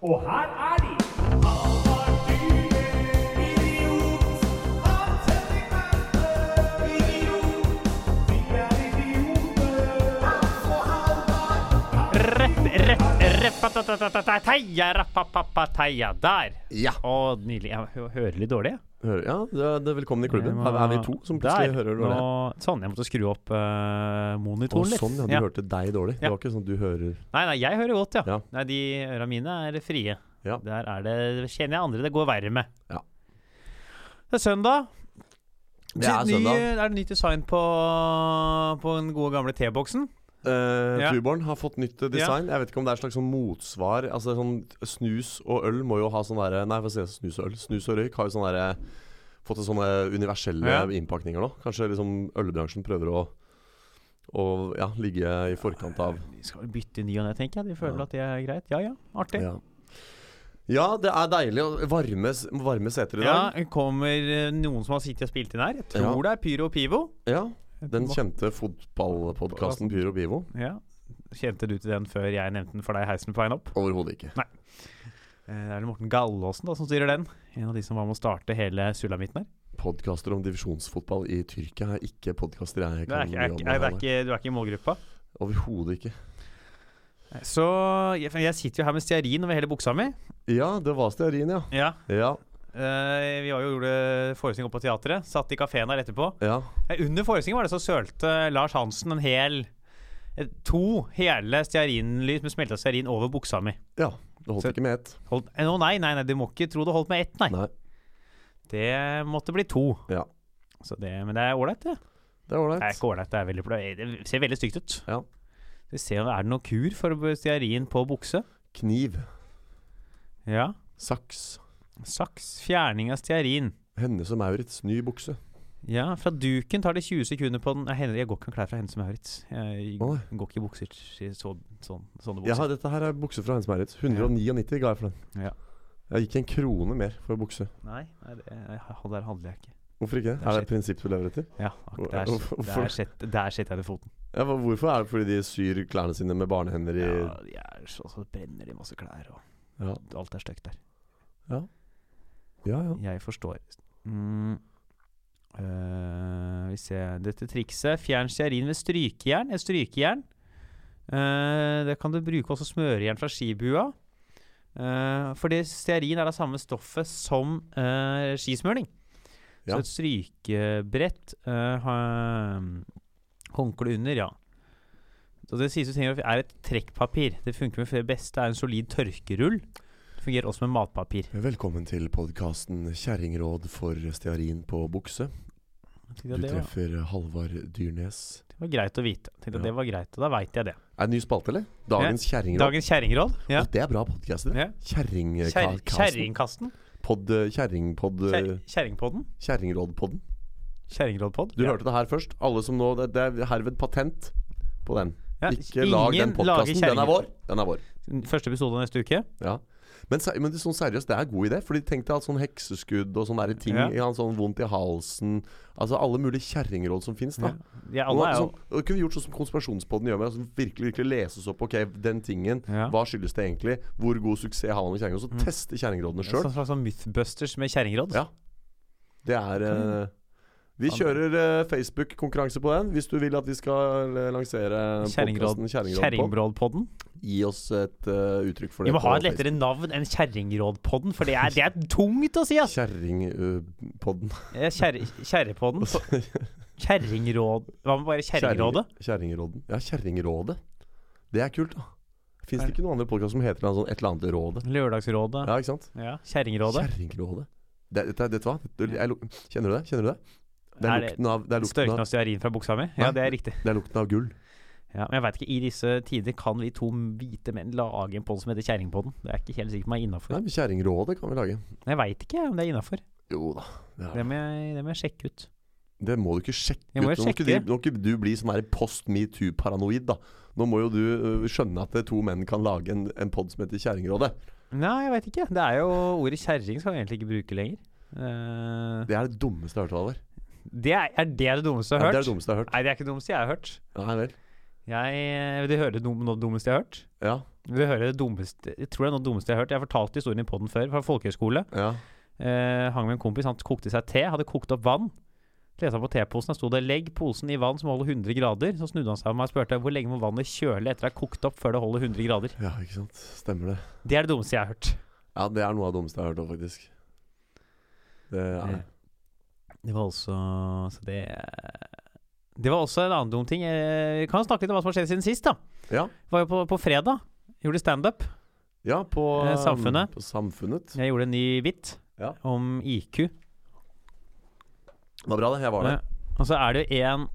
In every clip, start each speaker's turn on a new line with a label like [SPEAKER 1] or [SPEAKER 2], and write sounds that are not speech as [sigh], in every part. [SPEAKER 1] Og her er de!
[SPEAKER 2] Rapp, rapp, rappatatatatateia, rappapapateia. Der.
[SPEAKER 3] Ja.
[SPEAKER 2] Å, nydelig. Jeg hø- hører litt dårlig. jeg.
[SPEAKER 3] Hører, ja, det er, det er velkommen i klubben. Her er vi to som plutselig
[SPEAKER 2] Der.
[SPEAKER 3] hører dårlig.
[SPEAKER 2] Nå, sånn, jeg måtte skru opp eh,
[SPEAKER 3] Å,
[SPEAKER 2] monitoren litt.
[SPEAKER 3] sånn, ja. Du
[SPEAKER 2] Ja.
[SPEAKER 3] hørte deg dårlig. Det
[SPEAKER 2] Ja.
[SPEAKER 3] var ikke sånn at du hører
[SPEAKER 2] Nei, nei, jeg hører godt, ja.
[SPEAKER 3] Ja.
[SPEAKER 2] Nei, De øra mine er frie.
[SPEAKER 3] Ja.
[SPEAKER 2] Der er det, kjenner jeg andre det går verre med.
[SPEAKER 3] Ja.
[SPEAKER 2] Det er søndag.
[SPEAKER 3] Det er
[SPEAKER 2] ny,
[SPEAKER 3] søndag.
[SPEAKER 2] Er det nytt design på, på den gode gamle T-boksen?
[SPEAKER 3] Eh,
[SPEAKER 2] Ja.
[SPEAKER 3] Tuborn har fått nytt eh, design. Jeg vet ikke om det er et slags sånn motsvar. Altså sånn Snus og øl må jo ha sånn derre Nei, hva sier jeg? Snus og øl. Snus og røyk har jo sånn derre Fått til sånne universelle
[SPEAKER 2] Ja.
[SPEAKER 3] innpakninger nå. Kanskje liksom ølbransjen prøver å å ja, ligge i forkant av
[SPEAKER 2] De skal jo bytte i ny og ne, tenker jeg. De føler
[SPEAKER 3] Ja.
[SPEAKER 2] at det er greit. Ja ja, artig.
[SPEAKER 3] ja. ja, det er deilig. å- Varme, s- varme seter i
[SPEAKER 2] Ja,
[SPEAKER 3] dag.
[SPEAKER 2] kommer eh, noen som har sittet og spilt inn her? Jeg tror
[SPEAKER 3] Ja.
[SPEAKER 2] det er Pyro og Pivo.
[SPEAKER 3] Ja. Den kjente fotballpodkasten Pyro Bivo.
[SPEAKER 2] Ja. Kjente du til den før jeg nevnte den for deg i heisen på veien opp?
[SPEAKER 3] Overhodet ikke.
[SPEAKER 2] Eh, Det er vel Morten Gallåsen da som styrer den. En av de som var med å starte hele sulamitten her.
[SPEAKER 3] Podkaster om divisjonsfotball i Tyrkia er ikke podkaster jeg
[SPEAKER 2] Det er,
[SPEAKER 3] kan
[SPEAKER 2] ikke- er,
[SPEAKER 3] mye om.
[SPEAKER 2] ikke- er, det er
[SPEAKER 3] Harald.
[SPEAKER 2] ikke, du er ikke i målgruppa.
[SPEAKER 3] Overhodet ikke.
[SPEAKER 2] Så jeg, for jeg sitter jo her med stearin over hele buksa mi.
[SPEAKER 3] Ja, det var stearin, ja.
[SPEAKER 2] Ja.
[SPEAKER 3] Ja,
[SPEAKER 2] eh, vi var jo gjorde forestilling oppe på teatret. Satt i kafeen her etterpå.
[SPEAKER 3] ja.
[SPEAKER 2] Eh, Under forestillingen var det så sølte Lars Hansen en hel eh, To hele stearinlys med smelta stearin over buksa mi.
[SPEAKER 3] ja. Det holdt
[SPEAKER 2] Så-
[SPEAKER 3] ikke med ett.
[SPEAKER 2] Holdt, eh, å nei, nei, nei, du må ikke tro det holdt med ett, nei.
[SPEAKER 3] Nei.
[SPEAKER 2] Det måtte bli to.
[SPEAKER 3] Ja.
[SPEAKER 2] Så det, men det er ålreit, det.
[SPEAKER 3] Det er
[SPEAKER 2] Det er
[SPEAKER 3] ålreit.
[SPEAKER 2] ikke ålreit. Det, er veldig pla- det ser veldig stygt ut.
[SPEAKER 3] Ja.
[SPEAKER 2] Vi ser, om- er det noe kur for stearin på bukse?
[SPEAKER 3] Kniv,
[SPEAKER 2] Ja.
[SPEAKER 3] saks,
[SPEAKER 2] Saks. Fjerning av stearin.
[SPEAKER 3] Hennes og Maurits, ny bukse.
[SPEAKER 2] Ja, fra duken tar det 20 sekunder på den Nei, Henrik, Jeg går ikke med klær fra Hennes Maurits. Jeg
[SPEAKER 3] Oi.
[SPEAKER 2] går ikke i bukser i så, sånn, sånne
[SPEAKER 3] Jeg
[SPEAKER 2] bukser.
[SPEAKER 3] har, dette her er bukse fra Hennes og Maurits. 199 ga jeg for den.
[SPEAKER 2] Ja.
[SPEAKER 3] Jeg gikk en krone mer for bukse.
[SPEAKER 2] Nei, nei det, jeg- der handler jeg ikke.
[SPEAKER 3] Hvorfor ikke?
[SPEAKER 2] Det er
[SPEAKER 3] Er det
[SPEAKER 2] shit.
[SPEAKER 3] et prinsipp du lever etter?
[SPEAKER 2] Ja, ak- der,
[SPEAKER 3] Hvorfor-
[SPEAKER 2] der, setter, der setter jeg det foten.
[SPEAKER 3] Ja, hva- hvorfor er det fordi de syr klærne sine med barnehender i
[SPEAKER 2] Ja, de er så, så brenner de masse klær, og
[SPEAKER 3] Ja,
[SPEAKER 2] alt er stygt der.
[SPEAKER 3] ja. ja.
[SPEAKER 2] Jeg forstår. Mm. Eh, vi ser dette trikset. Fjern stearin ved strykejern. Et strykejern. Eh, det kan du bruke også smørejern fra skibua. Eh, fordi stearin er av samme stoffet som eh, skismøring.
[SPEAKER 3] Ja.
[SPEAKER 2] Så et strykebrett eh, ha- Håndkle under, ja. Så det sies du trenger er et trekkpapir. Det funker med det beste er en solid tørkerull. Det fungerer også med matpapir.
[SPEAKER 3] Velkommen til podkasten 'Kjerringråd for stearin på bukse'.
[SPEAKER 2] Tenkte
[SPEAKER 3] Du
[SPEAKER 2] jeg det var-
[SPEAKER 3] treffer Halvard Dyrnes.
[SPEAKER 2] Det var greit å vite. Tenkte at
[SPEAKER 3] Ja.
[SPEAKER 2] det var greit, og da veit jeg det.
[SPEAKER 3] Er det ny spalte, eller? Dagens kjerringråd.
[SPEAKER 2] Dagens kjerringråd. Ja.
[SPEAKER 3] Å, det er bra podkast.
[SPEAKER 2] Ja. Kjer-
[SPEAKER 3] Kjerringkasten.
[SPEAKER 2] Kjerringkasten.
[SPEAKER 3] Pod, kjerringpod,
[SPEAKER 2] Kjer- Kjerringpodden.
[SPEAKER 3] kjerringrådpodden.
[SPEAKER 2] Kjerringrådpod.
[SPEAKER 3] Du hørte det her først. Alle som nå, det, det er herved patent på den.
[SPEAKER 2] Ja,
[SPEAKER 3] Ikke lag den
[SPEAKER 2] ingen lager
[SPEAKER 3] podkasten. Den
[SPEAKER 2] kjerring-
[SPEAKER 3] er vår. Den er vår.
[SPEAKER 2] Første episode neste uke.
[SPEAKER 3] Ja. Men, se- men det er sånn seriøst, det er god idé. Fordi tenk deg at sånn hekseskudd og sånne der ting.
[SPEAKER 2] Ja.
[SPEAKER 3] Ja. Sånn vondt i halsen. Altså alle mulige kjerringråd som fins, da.
[SPEAKER 2] Ja,
[SPEAKER 3] Og
[SPEAKER 2] alle er jo
[SPEAKER 3] sånn, og kunne vi gjort sånn som Konspirasjonspodden gjør, med altså virkelig virkelig leses opp. Ok, den tingen.
[SPEAKER 2] Ja.
[SPEAKER 3] sånn-
[SPEAKER 2] Mm.
[SPEAKER 3] Hva skyldes det egentlig? Hvor god suksess har man med kjerringråd? Så teste kjerringrådene sjøl.
[SPEAKER 2] sånn slags sånn Mythbusters med kjerringråd.
[SPEAKER 3] Ja. Det er eh, Vi
[SPEAKER 2] Ja, det-
[SPEAKER 3] kjører eh, Facebook-konkurranse på den. Hvis du vil at vi skal eh, lansere
[SPEAKER 2] Kjerringråd-
[SPEAKER 3] podkasten Kjerringråd på,
[SPEAKER 2] Kjerringrådpodden.
[SPEAKER 3] gi oss et eh, uttrykk for
[SPEAKER 2] Vi
[SPEAKER 3] det.
[SPEAKER 2] må ha
[SPEAKER 3] på
[SPEAKER 2] et lettere navn enn Kjerringrådpodden, for det er, det er tungt å si,
[SPEAKER 3] Facebook.
[SPEAKER 2] ass!
[SPEAKER 3] Kjerringpodden.
[SPEAKER 2] Eh, Kjer, kjerrepodden. Kjerringråd Hva med bare Kjerringrådet?
[SPEAKER 3] Kjerring- [laughs] Kjerringråden. Ja, Kjerringrådet. Det er kult, da. Fins det ikke noen andre podkast som heter noe sånn et eller annet Rådet?
[SPEAKER 2] Lørdagsrådet.
[SPEAKER 3] Ja, ikke sant?
[SPEAKER 2] Ja. Kjerringrådet.
[SPEAKER 3] Kjerringrådet. Det, dette, vet du hva? Dette, jeg, lu- kjenner du det? Kjenner du det? Det
[SPEAKER 2] Er
[SPEAKER 3] er
[SPEAKER 2] det
[SPEAKER 3] lukten av, det er lukten
[SPEAKER 2] Størken
[SPEAKER 3] av,
[SPEAKER 2] av stearin fra buksa mi? Ja,
[SPEAKER 3] Nei.
[SPEAKER 2] det er riktig.
[SPEAKER 3] det er lukten av gull.
[SPEAKER 2] Ja, men jeg vet ikke, I disse tider kan vi to hvite menn lage en podd som heter Kjerringpodden. Det er jeg ikke helt sikker på om jeg er innafor.
[SPEAKER 3] Nei, men Kjerringrådet kan vi lage.
[SPEAKER 2] Jeg veit ikke om det er innafor.
[SPEAKER 3] Jo da. Det er
[SPEAKER 2] Det, må jeg- det må jeg sjekke ut.
[SPEAKER 3] Det må du ikke sjekke
[SPEAKER 2] Jeg må
[SPEAKER 3] ut.
[SPEAKER 2] jo
[SPEAKER 3] Nå må
[SPEAKER 2] sjekke.
[SPEAKER 3] ikke du- Nå må ikke du bli sånn her post metoo-paranoid, da. Nå må jo du øh, skjønne at det to menn kan lage en, en pod som heter Kjerringrådet.
[SPEAKER 2] Nei, jeg veit ikke. Det er jo Ordet kjerring skal vi egentlig ikke bruke lenger. Eh,
[SPEAKER 3] Det er det dummeste jeg har hørt, Halvor.
[SPEAKER 2] det er, er det det dummeste jeg
[SPEAKER 3] Ja,
[SPEAKER 2] har
[SPEAKER 3] det er
[SPEAKER 2] hørt?
[SPEAKER 3] det dummeste jeg har hørt.
[SPEAKER 2] Nei, det er ikke det dummeste jeg eh, har hørt.
[SPEAKER 3] Nei vel.
[SPEAKER 2] Jeg, vil du høre det dum- noe av det dummeste jeg har hørt?
[SPEAKER 3] Ja.
[SPEAKER 2] Vil du høre det dummeste Jeg tror det er noe av det dummeste jeg har hørt. Jeg fortalte historien i poden før, fra folkehøyskole.
[SPEAKER 3] Ja.
[SPEAKER 2] Eh, hang med en kompis, han kokte seg te. Hadde kokt opp vann. Leste han på teposen, der sto det 'legg posen i vann som holder 100 grader'. Så snudde han seg om meg og spurte hvor lenge må vannet kjøle etter det er kokt opp før det holder 100 grader.
[SPEAKER 3] ja, ikke sant. Stemmer det.
[SPEAKER 2] Det er det dummeste jeg har hørt.
[SPEAKER 3] Ja, det er noe av det dummeste jeg har hørt om, faktisk. Det er det.
[SPEAKER 2] Eh, Det var også Så det Det var også en annen dum ting. Eh, Vi kan snakke litt om hva som har skjedd siden sist, da.
[SPEAKER 3] Ja.
[SPEAKER 2] Var jo på, på fredag. Gjorde standup.
[SPEAKER 3] Ja, på
[SPEAKER 2] Eh,
[SPEAKER 3] um,
[SPEAKER 2] samfunnet.
[SPEAKER 3] På samfunnet.
[SPEAKER 2] Jeg gjorde en ny bit
[SPEAKER 3] Ja.
[SPEAKER 2] om IQ.
[SPEAKER 3] Det var bra, det. Jeg var der.
[SPEAKER 2] Eh, Og så er det jo en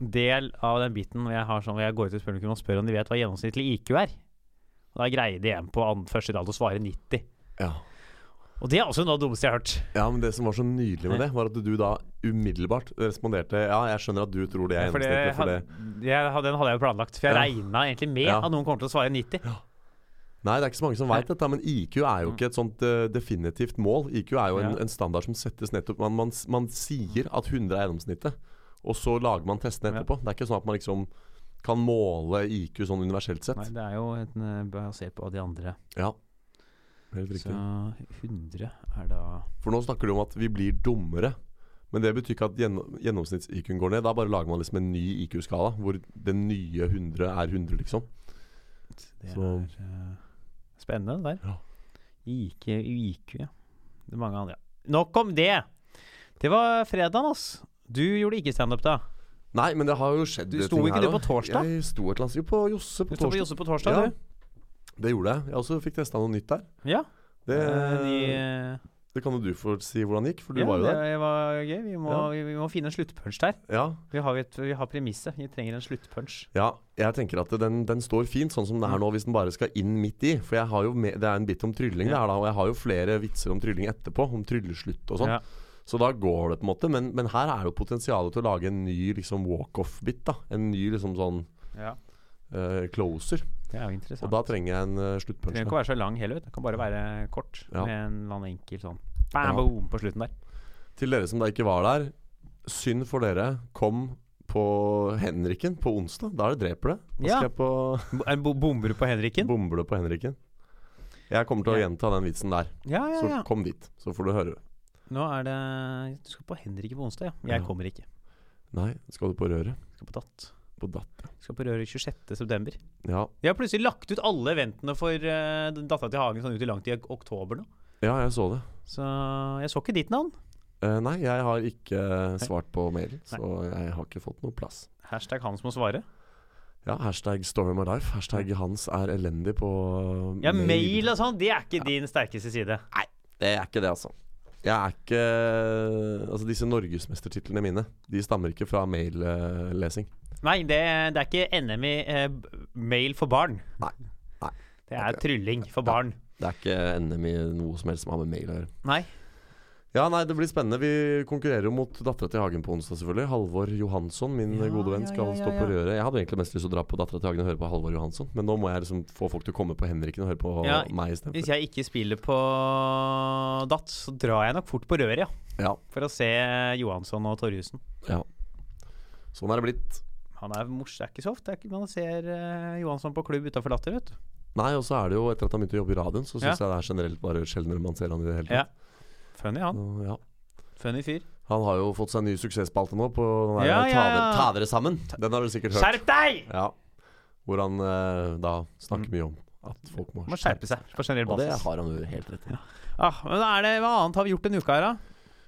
[SPEAKER 2] del av den biten hvor jeg, har sånn, hvor jeg går ut til publikum og spør om de vet hva gjennomsnittlig IQ er. Og da greide jeg på an, første rad å svare 90.
[SPEAKER 3] Ja.
[SPEAKER 2] Og det er også noe av det dummeste jeg har hørt.
[SPEAKER 3] ja, men det som var så nydelig med det, var at du da umiddelbart responderte Ja, jeg skjønner at du tror det er
[SPEAKER 2] For det
[SPEAKER 3] gjennomsnittlig, for det
[SPEAKER 2] had- jeg had- den hadde jeg jo planlagt. For jeg
[SPEAKER 3] Ja.
[SPEAKER 2] regnet regna egentlig med
[SPEAKER 3] Ja.
[SPEAKER 2] at noen kommer til å svare 90.
[SPEAKER 3] Nei, det er ikke så mange som veit dette, men IQ er jo ikke et sånt eh, definitivt mål. IQ er jo en,
[SPEAKER 2] Mm. Ja.
[SPEAKER 3] en standard som settes nettopp man, man, s- man sier at 100 er gjennomsnittet, og så lager man testene
[SPEAKER 2] Ja.
[SPEAKER 3] etterpå. Det er ikke sånn at man liksom kan måle IQ sånn universelt sett.
[SPEAKER 2] Nei, det er jo en, eh, basert på de andre.
[SPEAKER 3] Ja, helt
[SPEAKER 2] Så
[SPEAKER 3] riktig.
[SPEAKER 2] 100 er da
[SPEAKER 3] For nå snakker du om at vi blir dummere. Men det betyr ikke at gjennom, gjennomsnitts-IQ-en går ned. Da bare lager man liksom en ny IQ-skala, hvor det nye 100 er 100, liksom.
[SPEAKER 2] Det
[SPEAKER 3] Så-
[SPEAKER 2] er eh, spennende, det der.
[SPEAKER 3] Ja.
[SPEAKER 2] IQ, IQ, ja. Det er mange andre. Nok om det! Det var fredagen, ass. Du gjorde ikke standup da.
[SPEAKER 3] Nei, men det har jo skjedd
[SPEAKER 2] Du
[SPEAKER 3] ting
[SPEAKER 2] sto ikke
[SPEAKER 3] her
[SPEAKER 2] du
[SPEAKER 3] også.
[SPEAKER 2] på torsdag?
[SPEAKER 3] Jeg sto et eller annet sted på Josse
[SPEAKER 2] Du sto
[SPEAKER 3] på
[SPEAKER 2] på
[SPEAKER 3] torsdag.
[SPEAKER 2] Josse på torsdag,
[SPEAKER 3] Ja.
[SPEAKER 2] du.
[SPEAKER 3] Det gjorde jeg. Jeg også fikk testa noe nytt der.
[SPEAKER 2] Ja.
[SPEAKER 3] Det,
[SPEAKER 2] Eh, de, eh,
[SPEAKER 3] det kan jo du få si hvordan det gikk, for du
[SPEAKER 2] ja,
[SPEAKER 3] var jo der.
[SPEAKER 2] Det var gøy. Vi må,
[SPEAKER 3] Ja.
[SPEAKER 2] vi, vi må finne en sluttpunch der.
[SPEAKER 3] Ja,
[SPEAKER 2] Vi har, et, vi har premisset. Vi trenger en sluttpunch.
[SPEAKER 3] ja jeg tenker at den, den står fint sånn som den er
[SPEAKER 2] Mm.
[SPEAKER 3] nå, hvis den bare skal inn midt i. For jeg har jo med, det er en bit om trylling, det
[SPEAKER 2] Ja.
[SPEAKER 3] her da, og jeg har jo flere vitser om trylling etterpå. Om trylleslutt og sånn.
[SPEAKER 2] Ja.
[SPEAKER 3] Så da går det på en måte. Men, men her er jo potensialet til å lage en ny liksom, walk-off-bit. da En ny liksom sånn
[SPEAKER 2] Ja.
[SPEAKER 3] eh, closer.
[SPEAKER 2] Det er jo
[SPEAKER 3] Og
[SPEAKER 2] interessant.
[SPEAKER 3] da trenger jeg en uh,
[SPEAKER 2] Det trenger
[SPEAKER 3] sluttpunch.
[SPEAKER 2] ikke
[SPEAKER 3] da.
[SPEAKER 2] å være så lang heller. vet du. Det kan bare være kort.
[SPEAKER 3] Ja.
[SPEAKER 2] Med en eller annen enkel sånn bam,
[SPEAKER 3] Ja.
[SPEAKER 2] boom på slutten der.
[SPEAKER 3] Til dere som da ikke var der, synd for dere. Kom på Henriken på onsdag. Da er det Dreper det. Da
[SPEAKER 2] Ja.
[SPEAKER 3] skal jeg på
[SPEAKER 2] Bo- En bo bomber du på Henriken?
[SPEAKER 3] Bomber du på Henriken? Jeg kommer til å
[SPEAKER 2] Ja.
[SPEAKER 3] gjenta den vitsen der.
[SPEAKER 2] Ja, ja,
[SPEAKER 3] Så
[SPEAKER 2] ja.
[SPEAKER 3] kom dit, så får du høre.
[SPEAKER 2] Nå er det Du skal på Henriken på onsdag, ja. Jeg
[SPEAKER 3] Ja.
[SPEAKER 2] kommer ikke.
[SPEAKER 3] Nei, skal du på røret?
[SPEAKER 2] Jeg skal på Datt.
[SPEAKER 3] På datt.
[SPEAKER 2] Jeg skal på Røret 26. september.
[SPEAKER 3] Ja.
[SPEAKER 2] De har plutselig lagt ut alle eventene for eh, Dattera til Hagen sånn ut i langt i ok- oktober nå.
[SPEAKER 3] ja, jeg så det.
[SPEAKER 2] Så jeg så ikke ditt navn.
[SPEAKER 3] Eh, nei, jeg har ikke eh, svart på mailen, så jeg har ikke fått noe plass.
[SPEAKER 2] Hashtag han som må svare.
[SPEAKER 3] Ja, hashtag story of my life. Hashtag hans er elendig på eh,
[SPEAKER 2] Ja, mail og sånn, det er ikke din sterkeste side.
[SPEAKER 3] Det er ikke det, altså. Jeg er ikke Altså, disse norgesmestertitlene mine, de stammer ikke fra maillesing.
[SPEAKER 2] Nei, det, det er ikke NM i eh, b- mail for barn.
[SPEAKER 3] Nei. Nei.
[SPEAKER 2] Det er trylling for
[SPEAKER 3] Ja.
[SPEAKER 2] barn.
[SPEAKER 3] Det er ikke NM i noe som helst som har med mail å gjøre.
[SPEAKER 2] Nei.
[SPEAKER 3] Ja, nei, det blir spennende. Vi konkurrerer jo mot dattera til Hagen på onsdag, selvfølgelig. Halvor Johansson, min
[SPEAKER 2] Ja,
[SPEAKER 3] gode venn,
[SPEAKER 2] ja,
[SPEAKER 3] skal
[SPEAKER 2] ja, ja,
[SPEAKER 3] stå på
[SPEAKER 2] ja.
[SPEAKER 3] røret. Jeg hadde egentlig mest lyst til å dra på dattera til Hagen og høre på Halvor Johansson, men nå må jeg liksom få folk til å komme på Henriken og høre på
[SPEAKER 2] Ja,
[SPEAKER 3] meg istedenfor.
[SPEAKER 2] Hvis jeg ikke spiller på Datt, så drar jeg nok fort på røret, ja.
[SPEAKER 3] Ja,
[SPEAKER 2] For å se Johansson og Torjussen.
[SPEAKER 3] sånn er det blitt.
[SPEAKER 2] Han er mors, det er ikke så ofte det er ikke- man ser eh, Johansson på klubb utafor Latter, vet du.
[SPEAKER 3] Nei, og så er det jo etter at han begynte å jobbe i radioen, så syns
[SPEAKER 2] Ja.
[SPEAKER 3] jeg det er generelt bare sjeldnere man ser han i det hele
[SPEAKER 2] Ja.
[SPEAKER 3] tatt.
[SPEAKER 2] Funny han.
[SPEAKER 3] Så, ja.
[SPEAKER 2] Funny fyr.
[SPEAKER 3] Han har jo fått seg en ny suksessspalte nå, på den der
[SPEAKER 2] Ja,
[SPEAKER 3] ta,
[SPEAKER 2] ja,
[SPEAKER 3] dere,
[SPEAKER 2] ja.
[SPEAKER 3] ta dere sammen. Den har du sikkert hørt.
[SPEAKER 2] Skjerp deg!
[SPEAKER 3] Ja. Hvor han eh, da snakker mye om at folk må,
[SPEAKER 2] Mm. Må skjerpe seg på generell
[SPEAKER 3] Og det
[SPEAKER 2] basis.
[SPEAKER 3] har han jo helt rett i.
[SPEAKER 2] Ah, men er det, hva annet har vi gjort denne uka her, da?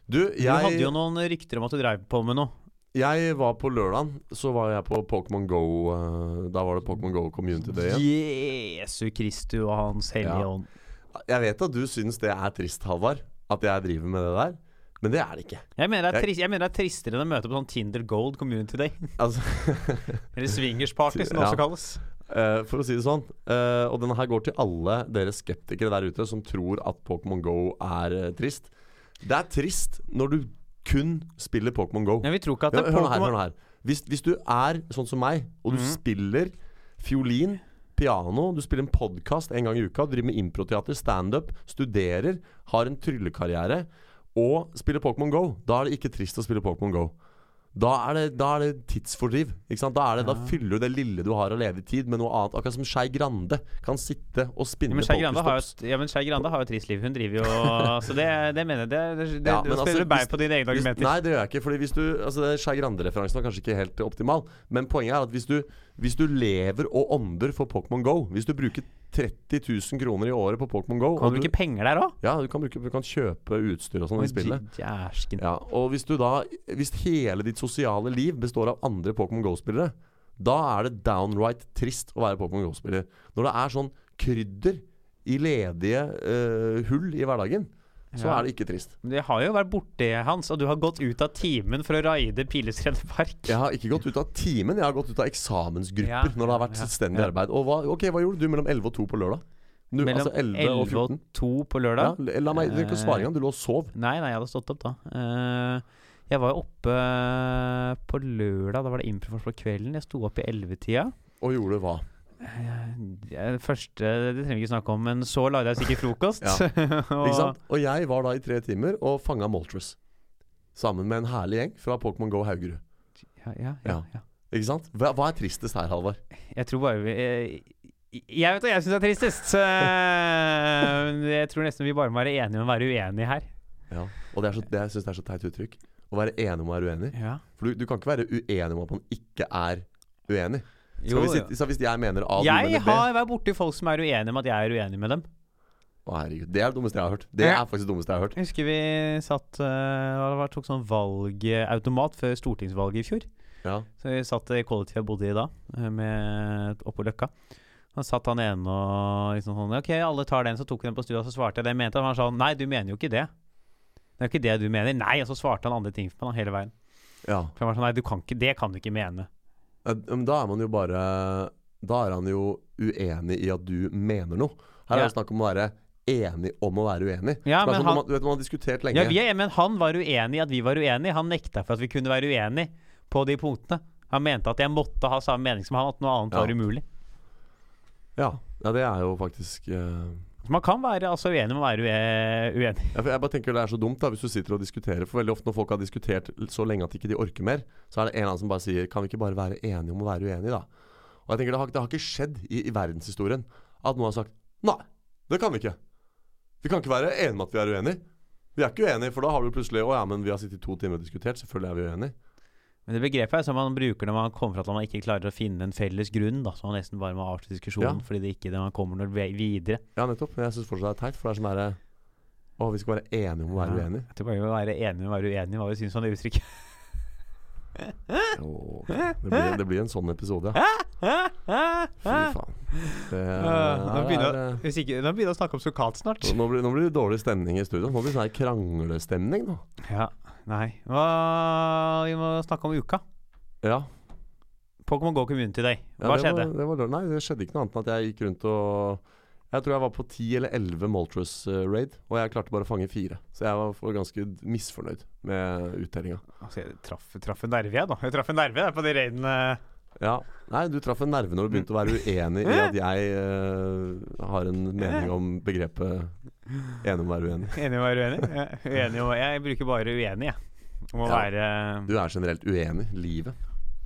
[SPEAKER 3] Du,
[SPEAKER 2] Du hadde jo
[SPEAKER 3] jeg,
[SPEAKER 2] noen rykter om at du drev på med noe.
[SPEAKER 3] jeg var på lørdagen, så var jeg på Pokémon Go. eh, Da var det Pokémon Go Community Day igjen.
[SPEAKER 2] Jesu Kristu og Hans Hellige
[SPEAKER 3] Ja.
[SPEAKER 2] Ånd.
[SPEAKER 3] Jeg vet at du syns det er trist, Halvard, at jeg driver med det der. Men det er det ikke.
[SPEAKER 2] Jeg mener, det er
[SPEAKER 3] Jeg-
[SPEAKER 2] trist, jeg mener det er tristere enn å møte på sånn Tinder Gold Community Day. [laughs]
[SPEAKER 3] Altså, [laughs]
[SPEAKER 2] Eller swingersparty, som det
[SPEAKER 3] Ja.
[SPEAKER 2] også kalles.
[SPEAKER 3] eh, for å si det sånn. eh, og denne her går til alle dere skeptikere der ute som tror at Pokémon Go er eh, trist. Det er trist når du kun spiller Pokémon Go.
[SPEAKER 2] Men vi tror ikke at
[SPEAKER 3] Ja,
[SPEAKER 2] det er
[SPEAKER 3] hør nå her, hør
[SPEAKER 2] Pokémon
[SPEAKER 3] nå her. Hvis, hvis du er sånn som meg, og du
[SPEAKER 2] Mhm.
[SPEAKER 3] spiller fiolin, piano, du spiller en podkast en gang i uka, driver med improteater, standup, studerer, har en tryllekarriere og spiller Pokémon Go, da er det ikke trist å spille Pokémon Go. Da er det, da er det tidsfordriv. Ikke sant? Da, er det,
[SPEAKER 2] Ja.
[SPEAKER 3] da fyller du det lille du har av levetid med noe annet. Akkurat som Skei Grande kan sitte og
[SPEAKER 2] Ja,
[SPEAKER 3] spinne
[SPEAKER 2] men Skei Grande har jo
[SPEAKER 3] pokerstops.
[SPEAKER 2] et, ja, men Skei Grande har jo et trist liv. Hun driver jo
[SPEAKER 3] [laughs]
[SPEAKER 2] Så det, det mener jeg. Det, det, det,
[SPEAKER 3] Ja,
[SPEAKER 2] det
[SPEAKER 3] men altså,
[SPEAKER 2] spiller du bein
[SPEAKER 3] hvis-
[SPEAKER 2] på dine egne
[SPEAKER 3] Hvis,
[SPEAKER 2] argumenter.
[SPEAKER 3] nei, det gjør jeg ikke. Fordi hvis du, altså det- Skei Grande-referansen var kanskje ikke helt optimal. Men poenget er at hvis du, hvis du lever og ånder for Pokémon Go Hvis du bruker 30 000 kroner i året på Pokémon Go
[SPEAKER 2] Kan
[SPEAKER 3] og
[SPEAKER 2] du
[SPEAKER 3] du,
[SPEAKER 2] ikke penger der òg?
[SPEAKER 3] ja, du, kan bruke, du kan kjøpe utstyr og sånn i spillet.
[SPEAKER 2] Jæsken.
[SPEAKER 3] Ja, og hvis du da Hvis hele ditt sosiale liv består av andre Pokémon GO-spillere, da er det downright trist å være Pokémon GO-spiller. Når det er sånn krydder i ledige eh, hull i hverdagen, så
[SPEAKER 2] Ja.
[SPEAKER 3] er det ikke trist.
[SPEAKER 2] Men Jeg har jo vært borti hans, og du har gått ut av timen for å raide Pilestredet park.
[SPEAKER 3] Jeg har ikke gått ut av timen, jeg har gått ut av eksamensgrupper
[SPEAKER 2] Ja,
[SPEAKER 3] når det har vært
[SPEAKER 2] ja,
[SPEAKER 3] selvstendig
[SPEAKER 2] ja.
[SPEAKER 3] arbeid. Og hva, ok, hva gjorde du mellom 11 og 2 på lørdag? Du,
[SPEAKER 2] Mellom
[SPEAKER 3] altså 11, og 14.
[SPEAKER 2] 2 på
[SPEAKER 3] Ja,
[SPEAKER 2] lørdag.
[SPEAKER 3] la meg du trenger ikke å svare engang, du lå og sov.
[SPEAKER 2] Nei, nei, jeg hadde stått opp da. Eh, jeg var jo oppe eh, på lørdag, da var det improforsk på kvelden. Jeg sto opp i ellevetida. Eh,
[SPEAKER 3] Og gjorde hva?
[SPEAKER 2] Det første Det trenger vi ikke snakke om, men så lagde jeg sikkert frokost. [laughs]
[SPEAKER 3] Ja.
[SPEAKER 2] og,
[SPEAKER 3] Ikke sant? Og jeg var da i tre timer og fanga Moltres. Sammen med en herlig gjeng fra Pokémon Go Haugerud.
[SPEAKER 2] Ja, ja, ja,
[SPEAKER 3] Ja.
[SPEAKER 2] ja.
[SPEAKER 3] Ikke sant? Hva, hva er tristest her, Halvard?
[SPEAKER 2] Jeg tror bare vi eh, Jeg vet hva jeg syns er tristest. eh, [laughs] men jeg tror nesten vi bare må være enige om å være uenige her.
[SPEAKER 3] Ja. Og det, er så, det jeg synes det er så teit uttrykk. Å være enig om å være uenig.
[SPEAKER 2] Ja.
[SPEAKER 3] For du, du kan ikke være uenig om at man ikke er uenig. Skal
[SPEAKER 2] Jo,
[SPEAKER 3] vi sitte, så hvis jeg mener A, du
[SPEAKER 2] Jeg
[SPEAKER 3] mener B
[SPEAKER 2] har vært borti folk som er uenige med at jeg er uenig med dem.
[SPEAKER 3] Å, herregud. Det er det dummeste jeg har hørt. Det
[SPEAKER 2] Ja.
[SPEAKER 3] er faktisk det dummeste jeg har hørt.
[SPEAKER 2] Jeg husker vi satt eh, hva det var, tok sånn valgautomat før stortingsvalget i fjor.
[SPEAKER 3] Ja.
[SPEAKER 2] Så vi satt i kollektivet jeg bodde i da, eh, med, oppå Løkka. Da satt han ene og liksom sånn Ok, alle tar den, så tok vi den på stua, så svarte jeg det jeg mente. Og han sa nei, du mener jo ikke det. Det er jo ikke det du mener. Nei, og så svarte han andre ting for meg da, hele veien.
[SPEAKER 3] ja.
[SPEAKER 2] For han var sånn, nei, du kan ikke, det kan du ikke mene.
[SPEAKER 3] Ja, Men da er man jo bare Da er han jo uenig i at du mener noe. Her er
[SPEAKER 2] Ja.
[SPEAKER 3] det snakk om å være enig om å være uenig.
[SPEAKER 2] Ja,
[SPEAKER 3] Som er
[SPEAKER 2] men
[SPEAKER 3] sånn
[SPEAKER 2] han-
[SPEAKER 3] man, du vet, man har diskutert lenge.
[SPEAKER 2] Ja, vi er, men han var uenig i at vi var uenige. Han nekta for at vi kunne være uenige på de punktene. Han mente at jeg måtte ha samme mening som han, at noe annet
[SPEAKER 3] Ja.
[SPEAKER 2] var umulig.
[SPEAKER 3] ja. ja, det er jo faktisk eh,
[SPEAKER 2] Så man kan være altså, uenig med å være ue- uenig.
[SPEAKER 3] Ja, for jeg bare tenker Det er så dumt da hvis du sitter og diskuterer. For veldig ofte når folk har diskutert l- så lenge at ikke de orker mer, så er det en eller annen som bare sier Kan vi ikke bare være enige om å være uenige, da? Og jeg tenker Det har, det har ikke skjedd i, i verdenshistorien at noen har sagt Nei, det kan vi ikke. Vi kan ikke være enige om at vi er uenige. Vi er ikke uenige, for da har du plutselig Å ja, men vi har sittet i to timer og diskutert. Selvfølgelig er vi uenige.
[SPEAKER 2] Men det begrepet er som man bruker når man kommer fra at man ikke klarer å finne en felles grunn. Da, så man nesten bare må avslutte diskusjonen
[SPEAKER 3] Ja.
[SPEAKER 2] fordi det ikke er det man kommer noe ve- videre.
[SPEAKER 3] Ja, nettopp. Men jeg syns fortsatt det er teit, for det er sånn derre Å, vi skal være enige om å være
[SPEAKER 2] Ja.
[SPEAKER 3] uenige.
[SPEAKER 2] Jeg tror bare vi må være enige med å være uenige hva vi syns om det uttrykket. [laughs]
[SPEAKER 3] Å, det, blir, det blir en sånn episode, ja. Fy faen. Det
[SPEAKER 2] Eh, Nå
[SPEAKER 3] her
[SPEAKER 2] begynner
[SPEAKER 3] er-
[SPEAKER 2] Hvis ikke, nå begynner jeg å snakke om sukkat snart.
[SPEAKER 3] Nå blir, nå blir det dårlig stemning i studio. Nå blir det sånn her kranglestemning. nå
[SPEAKER 2] Ja, nei. Hva, vi må snakke om uka.
[SPEAKER 3] Ja,
[SPEAKER 2] Pokémon Go Community Day.
[SPEAKER 3] ja
[SPEAKER 2] Hva
[SPEAKER 3] det
[SPEAKER 2] skjedde?
[SPEAKER 3] Var, det var, lørdag. nei, det skjedde ikke noe annet enn at jeg gikk rundt og Jeg tror jeg var på ti eller elleve Moltres eh, raid, og jeg klarte bare å fange fire. Så jeg var for ganske misfornøyd med uttellinga.
[SPEAKER 2] Altså, jeg traff, traff en nerve, jeg, da. Jeg traff en nerve jeg, på de raidene.
[SPEAKER 3] Ja. Nei, du traff en nerve når du begynte å være uenig i at jeg eh, har en mening om begrepet enig om å være uenig.
[SPEAKER 2] Enig om å være uenig? Ja, uenig om, jeg bruker bare uenig, jeg. Om å
[SPEAKER 3] Ja.
[SPEAKER 2] være
[SPEAKER 3] Du er generelt uenig. Livet.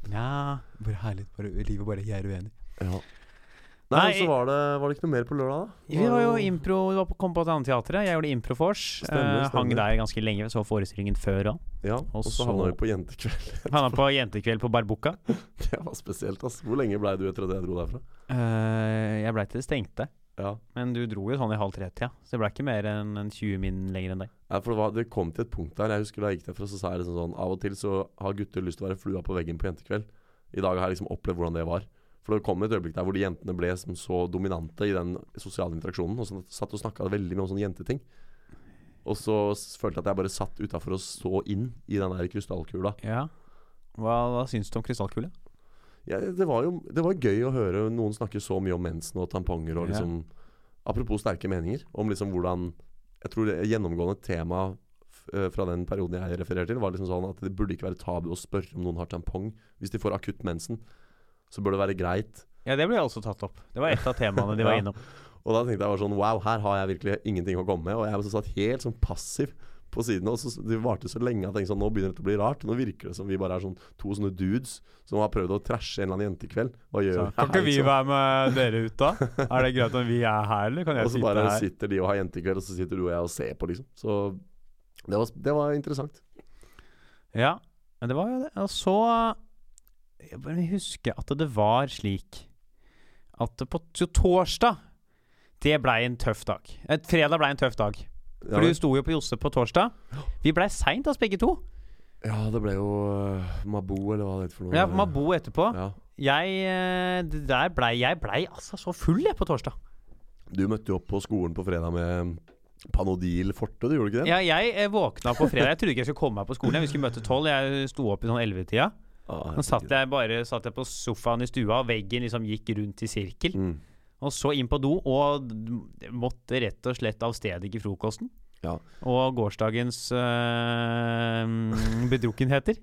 [SPEAKER 2] Ja, bare herlig. Bare, livet bare jeg er uenig.
[SPEAKER 3] Ja. Nei,
[SPEAKER 2] Nei,
[SPEAKER 3] så var det, var det ikke noe mer på lørdag, da?
[SPEAKER 2] Vi var jo impro, vi var på, kom på Teaterteatret. Jeg gjorde Improfors.
[SPEAKER 3] Stemmer,
[SPEAKER 2] Eh, hang
[SPEAKER 3] stemmer.
[SPEAKER 2] der ganske lenge. Så forestillingen før òg.
[SPEAKER 3] Ja, og
[SPEAKER 2] så-
[SPEAKER 3] så havna vi på jentekveld.
[SPEAKER 2] Havna på jentekveld på Barbuca.
[SPEAKER 3] [laughs] Det var spesielt, ass. Hvor lenge blei du etter at jeg dro derfra?
[SPEAKER 2] Eh, jeg blei til det stengte.
[SPEAKER 3] Ja.
[SPEAKER 2] Men du dro jo sånn i halv tre-tida, så det blei ikke mer enn en 20 min lenger enn deg.
[SPEAKER 3] Nei, for det, var, det kom til et punkt der. Jeg husker da jeg gikk derfra, så sa jeg liksom sånn Av og til så har gutter lyst til å være flua på veggen på jentekveld. I dag har jeg liksom opplevd hvordan det var. For det kom et øyeblikk der hvor de jentene ble som så dominante i den sosiale interaksjonen, og så satt og snakka veldig mye om sånne jenteting. Og så s- følte jeg at jeg bare satt utafor og så inn i den der krystallkula.
[SPEAKER 2] Ja. Hva, hva syns du om krystallkule?
[SPEAKER 3] Ja, det var jo det var gøy å høre noen snakke så mye om mensen og tamponger og
[SPEAKER 2] Ja.
[SPEAKER 3] liksom Apropos sterke meninger, om liksom hvordan Jeg tror det gjennomgående tema f- eh, fra den perioden jeg refererer til, var liksom sånn at det burde ikke være tabu å spørre om noen har tampong. Hvis de får akutt mensen, så bør det være greit.
[SPEAKER 2] Ja, det ble også tatt opp. Det var et av temaene de [laughs]
[SPEAKER 3] Ja.
[SPEAKER 2] var innom.
[SPEAKER 3] Og da tenkte jeg bare sånn Wow, her har jeg virkelig ingenting å komme med. Og jeg satt helt sånn passiv på sidene. Og så, de varte så lenge at jeg tenkte sånn, nå begynner dette å bli rart. Nå virker det som vi bare er sånn to sånne dudes som har prøvd å trashe en eller annen jente i kveld. Hva gjør
[SPEAKER 2] Så, kan ikke vi
[SPEAKER 3] liksom?
[SPEAKER 2] være med dere ut, da? Er det greit om vi er her, eller kan jeg
[SPEAKER 3] Og så
[SPEAKER 2] sitte
[SPEAKER 3] bare
[SPEAKER 2] her?
[SPEAKER 3] sitter de og har jentekveld, og så sitter du og jeg og ser på, liksom. Så det var, det var interessant.
[SPEAKER 2] Ja, men det var jo det. Og så Jeg bare husker at det var slik at det på så torsdag Det blei en tøff dag. Et fredag blei en tøff dag.
[SPEAKER 3] Ja,
[SPEAKER 2] For du sto jo på Josse på torsdag. Vi blei seint, altså, begge to.
[SPEAKER 3] ja det ble jo øh, Mabo, eller hva det heter for noe.
[SPEAKER 2] Ja, Mabo etterpå.
[SPEAKER 3] Ja.
[SPEAKER 2] Jeg eh, det der blei Jeg blei altså så full, jeg, på torsdag.
[SPEAKER 3] Du møtte jo opp på skolen på fredag med Panodil Forte, du gjorde ikke det?
[SPEAKER 2] Ja, jeg eh, våkna på fredag. Jeg trodde ikke jeg skulle komme meg på skolen. Jeg Vi skulle møte tolv. Jeg sto opp i sånn ellevetida.
[SPEAKER 3] Ah,
[SPEAKER 2] Nå satt jeg bare satt jeg på sofaen i stua, og veggen liksom gikk rundt i sirkel.
[SPEAKER 3] Mm.
[SPEAKER 2] Og så inn på do, og d- måtte rett og slett av sted ikke frokosten.
[SPEAKER 3] Ja.
[SPEAKER 2] Og gårsdagens øh, [laughs] bedrukkenheter.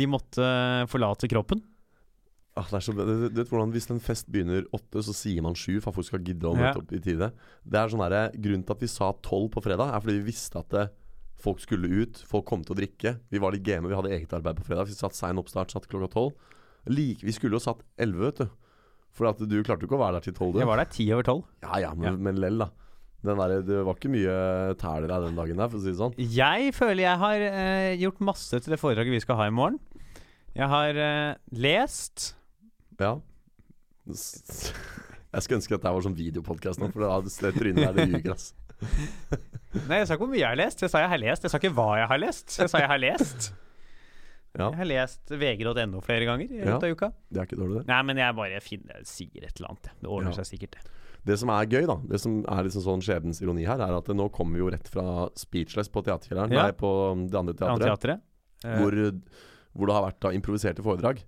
[SPEAKER 2] De måtte eh, forlate kroppen.
[SPEAKER 3] Ah, det er så, du, du vet hvordan Hvis en fest begynner åtte, så sier man sju for at folk skal gidde å
[SPEAKER 2] Ja.
[SPEAKER 3] møte opp i tide. Det er sånn der, Grunnen til at vi sa tolv på fredag, er fordi vi visste at det, folk skulle ut. Folk kom til å drikke. Vi var litt game, vi hadde eget arbeid på fredag. Vi satt sein oppstart, satt klokka tolv. Like, vi skulle jo satt elleve, vet du. For at du klarte jo ikke å være der til tolv. du.
[SPEAKER 2] Jeg var der ti over tolv.
[SPEAKER 3] Ja, ja, men,
[SPEAKER 2] Ja.
[SPEAKER 3] men lell, da. Den der, det var ikke mye tæler av den dagen der, for å si det sånn.
[SPEAKER 2] Jeg føler jeg har eh, gjort masse til det foredraget vi skal ha i morgen. Jeg har eh, lest
[SPEAKER 3] Ja. S- Jeg skulle ønske at det var sånn videopodkast nå, for det, det trynet der, det ljuger, ass.
[SPEAKER 2] Nei, jeg sa ikke hvor mye jeg har lest. Jeg sa jeg har lest. Jeg sa ikke hva jeg har lest. Jeg sa jeg har lest.
[SPEAKER 3] [laughs] Ja.
[SPEAKER 2] Jeg har lest vg.no flere ganger i løpet av uka.
[SPEAKER 3] Det er ikke dårlig, det.
[SPEAKER 2] Nei, men jeg bare finner, jeg sier et eller annet. jeg. Det ordner
[SPEAKER 3] Ja.
[SPEAKER 2] seg sikkert, det.
[SPEAKER 3] Det som er gøy, da, det som er liksom sånn skjebnens ironi her, er at nå kommer vi jo rett fra Speechless på teaterkjelleren,
[SPEAKER 2] Ja.
[SPEAKER 3] nei, på det andre teatret,
[SPEAKER 2] Teatret.
[SPEAKER 3] hvor, hvor det har vært da improviserte foredrag.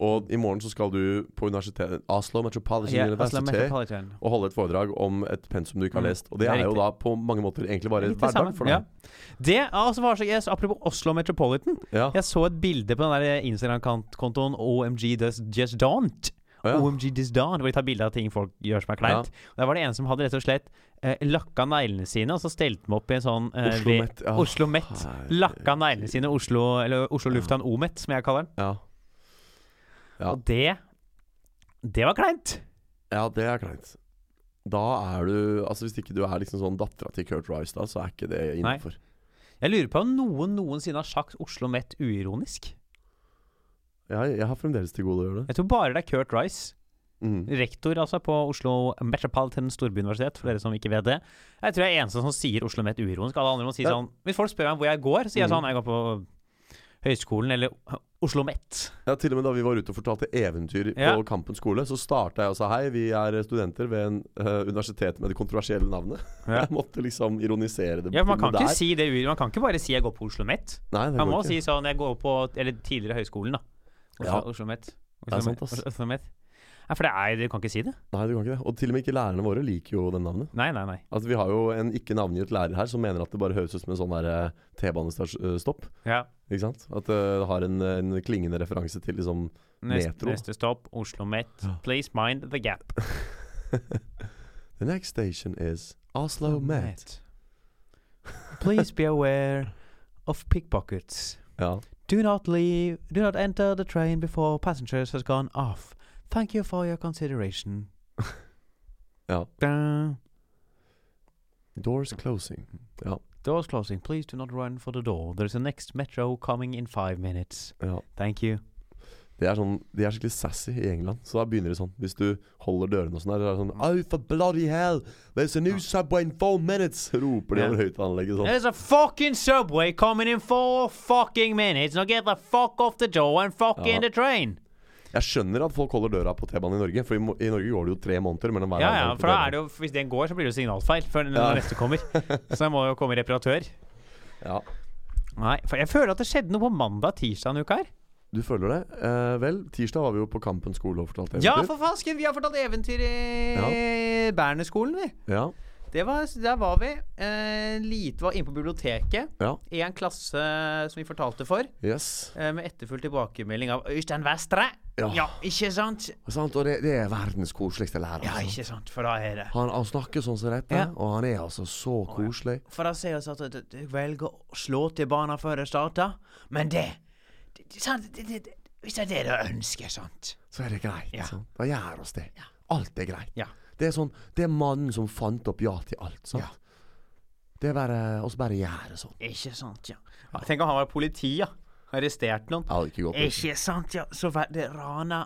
[SPEAKER 3] Og i morgen så skal du på universitetet Oslo Metropolitan
[SPEAKER 2] ja, Oslo
[SPEAKER 3] University
[SPEAKER 2] Metropolitan.
[SPEAKER 3] og holde et foredrag om et pensum du ikke har
[SPEAKER 2] Mm,
[SPEAKER 3] lest. Og det
[SPEAKER 2] det er
[SPEAKER 3] er jo
[SPEAKER 2] riktig.
[SPEAKER 3] da på mange måter egentlig bare
[SPEAKER 2] Litt det
[SPEAKER 3] hverdag
[SPEAKER 2] samme.
[SPEAKER 3] for
[SPEAKER 2] Ja.
[SPEAKER 3] deg.
[SPEAKER 2] Det, altså, var så, jeg, apropos Oslo Metropolitan.
[SPEAKER 3] Ja.
[SPEAKER 2] Jeg så et bilde på den der Instagram-kontoen OMG does just don't.
[SPEAKER 3] Å, ja.
[SPEAKER 2] OMG does don't, hvor de tar bilde av ting folk gjør som er kleint. Og Der var det en som hadde rett og slett eh, lakka neglene sine, og så stelte dem opp i en sånn eh,
[SPEAKER 3] Oslo
[SPEAKER 2] ved-
[SPEAKER 3] Met. Ja.
[SPEAKER 2] Oslo Met. Lakka neglene sine Oslo, eller Oslo Lufthavn OMET, som jeg kaller den.
[SPEAKER 3] Ja. Ja.
[SPEAKER 2] Og det Det var kleint!
[SPEAKER 3] ja, det er kleint. Da er du Altså Hvis ikke du er liksom sånn dattera til Kurt Rice, da, så er ikke det
[SPEAKER 2] Nei.
[SPEAKER 3] innafor.
[SPEAKER 2] Jeg lurer på om noen noensinne har sagt Oslo Met uironisk.
[SPEAKER 3] Jeg, jeg har fremdeles til gode å gjøre det.
[SPEAKER 2] Jeg tror bare det er Kurt Rice,
[SPEAKER 3] Mm.
[SPEAKER 2] rektor altså på Oslo Metropolitan Storbyuniversitet, for dere som ikke vet det. Jeg tror jeg er eneste som sier Oslo Met uironisk. Alle andre må si
[SPEAKER 3] Ja. Mm.
[SPEAKER 2] sånn Hvis folk spør meg hvor jeg går, så sier jeg sånn Jeg går på høyskolen eller Oslo Met.
[SPEAKER 3] Ja, til og med da vi var ute og fortalte eventyr
[SPEAKER 2] Ja.
[SPEAKER 3] på Kampen skole, så starta jeg og sa hei, vi er studenter ved en eh, universitet med det kontroversielle navnet. [laughs]
[SPEAKER 2] Ja.
[SPEAKER 3] Jeg måtte liksom ironisere det.
[SPEAKER 2] Ja, for man kan
[SPEAKER 3] der.
[SPEAKER 2] ikke si det uir- Man kan ikke bare si jeg går på Oslo Met.
[SPEAKER 3] Nei, det
[SPEAKER 2] Man
[SPEAKER 3] går
[SPEAKER 2] må
[SPEAKER 3] ikke.
[SPEAKER 2] si sånn jeg går på Eller tidligere høyskolen, da. Oslo,
[SPEAKER 3] Ja.
[SPEAKER 2] Oslo Met.
[SPEAKER 3] er
[SPEAKER 2] Oslo,
[SPEAKER 3] sant,
[SPEAKER 2] Met.
[SPEAKER 3] ass.
[SPEAKER 2] Oslo, Oslo Met. Nei, for det er Du kan ikke si det.
[SPEAKER 3] Nei, du kan ikke det. Og til og med ikke lærerne våre liker jo det navnet.
[SPEAKER 2] Nei, nei, nei.
[SPEAKER 3] Altså, vi har jo en ikke navngitt lærer her som mener at det bare høres ut som en sånn der, eh, T-banestopp.
[SPEAKER 2] Ja.
[SPEAKER 3] Ikke sant? At eh, det har en, en klingende referanse til liksom
[SPEAKER 2] Neste,
[SPEAKER 3] Metro.
[SPEAKER 2] neste stopp, Oslo Met.
[SPEAKER 3] Ja.
[SPEAKER 2] Please mind the gap.
[SPEAKER 3] The next station is Oslo Met.
[SPEAKER 2] Please be aware of pickpockets.
[SPEAKER 3] Ja.
[SPEAKER 2] Do not leave, do not enter the train before passengers has gone off. Thank you for your consideration.
[SPEAKER 3] [laughs] Ja.
[SPEAKER 2] Da-
[SPEAKER 3] Doors closing.
[SPEAKER 2] Doors closing. Please do not run for the door. There's a next metro coming in five minutes.
[SPEAKER 3] Ja.
[SPEAKER 2] Thank you.
[SPEAKER 3] De er, sånn, de er skikkelig sassy i England. Så da begynner de sånn. Hvis du holder dørene og sånn der, så er det sånn Oh, for bloody hell! There's a new subway in four minutes! [laughs] Roper de
[SPEAKER 2] Ja.
[SPEAKER 3] over høyttalerlegget sånn.
[SPEAKER 2] There's a fucking subway coming in four fucking minutes. Now get the fuck off the door and fuck
[SPEAKER 3] Ja.
[SPEAKER 2] in the train.
[SPEAKER 3] Jeg skjønner at folk holder døra på T-banen i Norge, for i, mo- i Norge går det jo tre måneder mellom hver
[SPEAKER 2] Ja,
[SPEAKER 3] gang
[SPEAKER 2] ja,
[SPEAKER 3] på
[SPEAKER 2] for da
[SPEAKER 3] T-banen.
[SPEAKER 2] er det jo, hvis den går, så blir det jo signalfeil før den
[SPEAKER 3] Ja.
[SPEAKER 2] neste
[SPEAKER 3] [laughs]
[SPEAKER 2] kommer. Så jeg må jo komme reparatør.
[SPEAKER 3] Ja.
[SPEAKER 2] Nei, for jeg føler at det skjedde noe på mandag, tirsdag denne uka her.
[SPEAKER 3] Du føler det? Eh, vel, tirsdag var vi jo på Kampen skole og fortalte
[SPEAKER 2] Ja,
[SPEAKER 3] eventyr.
[SPEAKER 2] for fasken! Vi har fortalt eventyr i Bernerskolen, vi.
[SPEAKER 3] Ja.
[SPEAKER 2] Det var, der var vi. Eh, lite var inne på biblioteket.
[SPEAKER 3] Ja.
[SPEAKER 2] Én klasse eh, som vi fortalte for,
[SPEAKER 3] Yes.
[SPEAKER 2] eh, med etterfull tilbakemelding av Øystein Vestre.
[SPEAKER 3] Ja.
[SPEAKER 2] ikke sant?
[SPEAKER 3] Sant? Og det, det er verdens koseligste lærer.
[SPEAKER 2] Ja,
[SPEAKER 3] altså.
[SPEAKER 2] ikke sant, for da er det
[SPEAKER 3] Han, han snakker sånn som dette,
[SPEAKER 2] Ja.
[SPEAKER 3] og han er altså så koselig.
[SPEAKER 2] For da sier vi at jeg velger å slå til barna før jeg starter, men det, det, det, sant, det, det, det Hvis det er det du ønsker, sant?
[SPEAKER 3] Så er det greit.
[SPEAKER 2] Ja.
[SPEAKER 3] Sant? Da gjør oss det. Alt er greit.
[SPEAKER 2] Ja.
[SPEAKER 3] Det er sånn Det er mannen som fant opp ja til alt, sant?
[SPEAKER 2] Ja.
[SPEAKER 3] Det er bare oss bare gjør det sånn.
[SPEAKER 2] Ikke sant, ja. ja tenk om han var politi, ja. Arrestert noen.
[SPEAKER 3] Jeg hadde ikke gått
[SPEAKER 2] Ikke sant, ja. Så var det rana,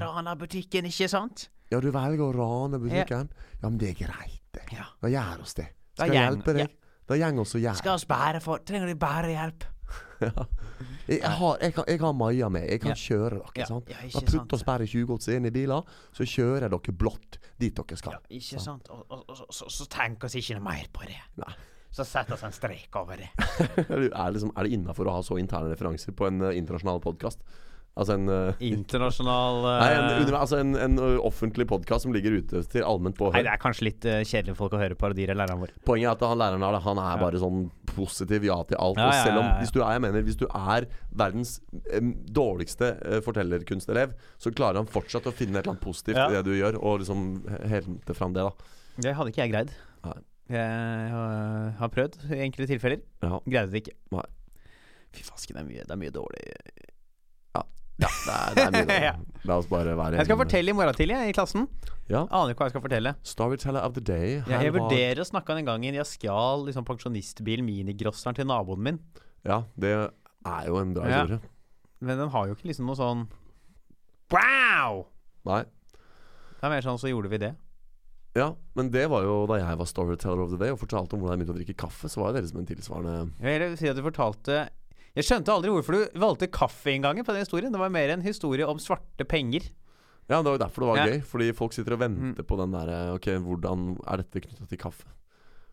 [SPEAKER 2] rana butikken, ikke sant?
[SPEAKER 3] Ja, du velger å rane butikken? Ja, men det er greit, det.
[SPEAKER 2] Ja.
[SPEAKER 3] Da gjør oss det.
[SPEAKER 2] Da
[SPEAKER 3] Skal jeg
[SPEAKER 2] gjeng-
[SPEAKER 3] hjelpe deg? Da gjeng oss og gjør. [laughs]
[SPEAKER 2] Skal oss bære for Trenger de bærehjelp?
[SPEAKER 3] Jeg, jeg, har, jeg, kan, jeg har maja med. Jeg kan
[SPEAKER 2] Ja.
[SPEAKER 3] kjøre dere.
[SPEAKER 2] Ja,
[SPEAKER 3] sant?
[SPEAKER 2] ja, ikke
[SPEAKER 3] da putter
[SPEAKER 2] sant.
[SPEAKER 3] oss bare i tjuvgodset inn i biler, så kjører dere blått dit dere skal.
[SPEAKER 2] Ikke sant? Og, og, og, så, så tenker oss ikke noe mer på det.
[SPEAKER 3] Nei.
[SPEAKER 2] Så setter oss en strek over det.
[SPEAKER 3] [laughs] er, det liksom, er det innafor å ha så interne referanser på en eh, internasjonal podkast? Altså en eh,
[SPEAKER 2] Internasjonal eh,
[SPEAKER 3] Nei, en, univer- altså en, en eh, offentlig podkast som ligger ute til allment
[SPEAKER 2] Nei,
[SPEAKER 3] påhør.
[SPEAKER 2] det er kanskje litt eh, kjedelige folk å høre parodier av læreren vår.
[SPEAKER 3] Poenget er at han læreren her, da, han er bare sånn positiv ja til alt.
[SPEAKER 2] Ja,
[SPEAKER 3] og
[SPEAKER 2] ja,
[SPEAKER 3] selv om,
[SPEAKER 2] ja, ja.
[SPEAKER 3] hvis du er, jeg mener, hvis du er verdens em, dårligste eh, fortellerkunstelev, så klarer han fortsatt å finne et eller annet positivt
[SPEAKER 2] Ja.
[SPEAKER 3] i det du gjør, og liksom he- hente fram det, da.
[SPEAKER 2] Det hadde ikke jeg greid.
[SPEAKER 3] Nei.
[SPEAKER 2] Jeg har- har prøvd i enkelte tilfeller. [laughs]
[SPEAKER 3] Ja.
[SPEAKER 2] Greide det ikke.
[SPEAKER 3] Nei.
[SPEAKER 2] Fy fasken, det er mye, det er mye dårlig
[SPEAKER 3] Ja,
[SPEAKER 2] [laughs]
[SPEAKER 3] det er, det er mye.
[SPEAKER 2] Ja.
[SPEAKER 3] La oss bare være
[SPEAKER 2] Jeg skal
[SPEAKER 3] enige med-
[SPEAKER 2] fortelle i morgen tidlig jeg, i klassen.
[SPEAKER 3] Ja.
[SPEAKER 2] Aner ikke hva jeg skal fortelle.
[SPEAKER 3] Storyteller of the day.
[SPEAKER 2] Jeg, jeg
[SPEAKER 3] Her var-
[SPEAKER 2] vurderer å snakke om den gangen jeg skjal liksom, pensjonistbil minigrosseren til naboen min.
[SPEAKER 3] Ja, det er jo en bra
[SPEAKER 2] Ja.
[SPEAKER 3] historie.
[SPEAKER 2] Men den har jo ikke liksom noe sånn Wow!
[SPEAKER 3] Nei.
[SPEAKER 2] Det er mer sånn, så gjorde vi det.
[SPEAKER 3] Ja, men det var jo da jeg var storyteller of the day og fortalte om hvordan jeg begynte å drikke kaffe, så var jo dere som en tilsvarende
[SPEAKER 2] Jeg vil si at du fortalte Jeg skjønte aldri hvorfor du valgte kaffeinngangen på den historien. Det var mer en historie om svarte
[SPEAKER 3] [laughs]
[SPEAKER 2] penger.
[SPEAKER 3] Ja, det var jo derfor det var
[SPEAKER 2] Ja. Mm.
[SPEAKER 3] gøy. Fordi folk sitter og venter på den derre Ok, hvordan er dette knytta til kaffe?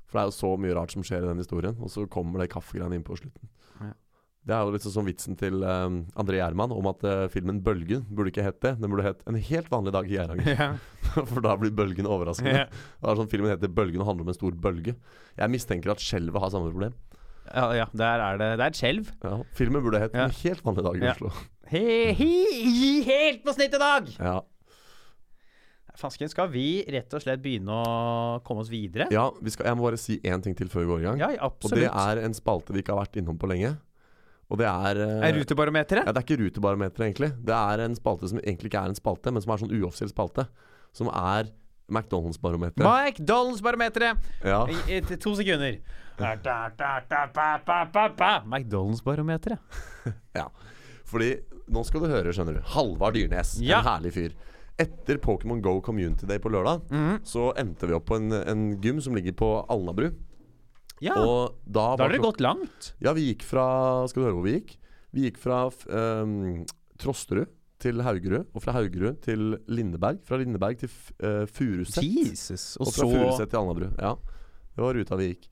[SPEAKER 3] For det er jo så mye rart som skjer i den historien, og så kommer det kaffegreiene inn på slutten.
[SPEAKER 2] Ja.
[SPEAKER 3] Det er jo liksom som vitsen til eh, André Gjerman om at eh, filmen 'Bølgen' burde ikke hett det. Den burde hett 'En helt vanlig dag i
[SPEAKER 2] [laughs]
[SPEAKER 3] Geiranger'. [laughs] For da blir bølgen
[SPEAKER 2] Ja.
[SPEAKER 3] overraskende. Det er sånn Filmen heter 'Bølgen' og handler om en stor bølge. Jeg mistenker at skjelvet har samme problem.
[SPEAKER 2] Ja, ja der er det Det er et skjelv.
[SPEAKER 3] Ja, filmen burde hett
[SPEAKER 2] Ja.
[SPEAKER 3] 'En helt vanlig dag i
[SPEAKER 2] Ja.
[SPEAKER 3] Oslo'.
[SPEAKER 2] He, hi, hi, helt på snitt i dag!
[SPEAKER 3] Ja.
[SPEAKER 2] Fasken, skal vi rett og slett begynne å komme oss videre?
[SPEAKER 3] ja vi skal, jeg må bare si én ting til før vi går i gang.
[SPEAKER 2] Ja,
[SPEAKER 3] og det
[SPEAKER 2] absolutt.
[SPEAKER 3] er en spalte vi ikke har vært innom på lenge. Og det er eh,
[SPEAKER 2] er Rutebarometeret?
[SPEAKER 3] Ja, det er ikke Rutebarometeret, egentlig. Det er en spalte som egentlig ikke er en spalte, men som er sånn uoffisiell spalte. Som er McDonald's-barometeret.
[SPEAKER 2] McDonald's-barometeret!
[SPEAKER 3] Ja.
[SPEAKER 2] I- i- til To sekunder. Da, da, da, da, ba, ba, ba, ba. McDonald's-barometeret.
[SPEAKER 3] ja. Fordi Nå skal du høre, skjønner du. Halvard Dyrnes.
[SPEAKER 2] Ja.
[SPEAKER 3] En herlig fyr. Etter Pokémon Go Community Day på lørdag,
[SPEAKER 2] Mhm.
[SPEAKER 3] så endte vi opp på en, en gym som ligger på Alnabru.
[SPEAKER 2] Ja,
[SPEAKER 3] Og da
[SPEAKER 2] da
[SPEAKER 3] var
[SPEAKER 2] har dere
[SPEAKER 3] klok-
[SPEAKER 2] gått langt.
[SPEAKER 3] Ja, vi gikk fra Skal du høre hvor vi gikk? Vi gikk fra f- ehm, Trosterud til Haugerud, og fra Haugerud til Lindeberg. Fra Lindeberg til f- eh, Furuset.
[SPEAKER 2] Jesus.
[SPEAKER 3] Og fra Furuset til Alnabru. Ja. Det var ruta vi gikk.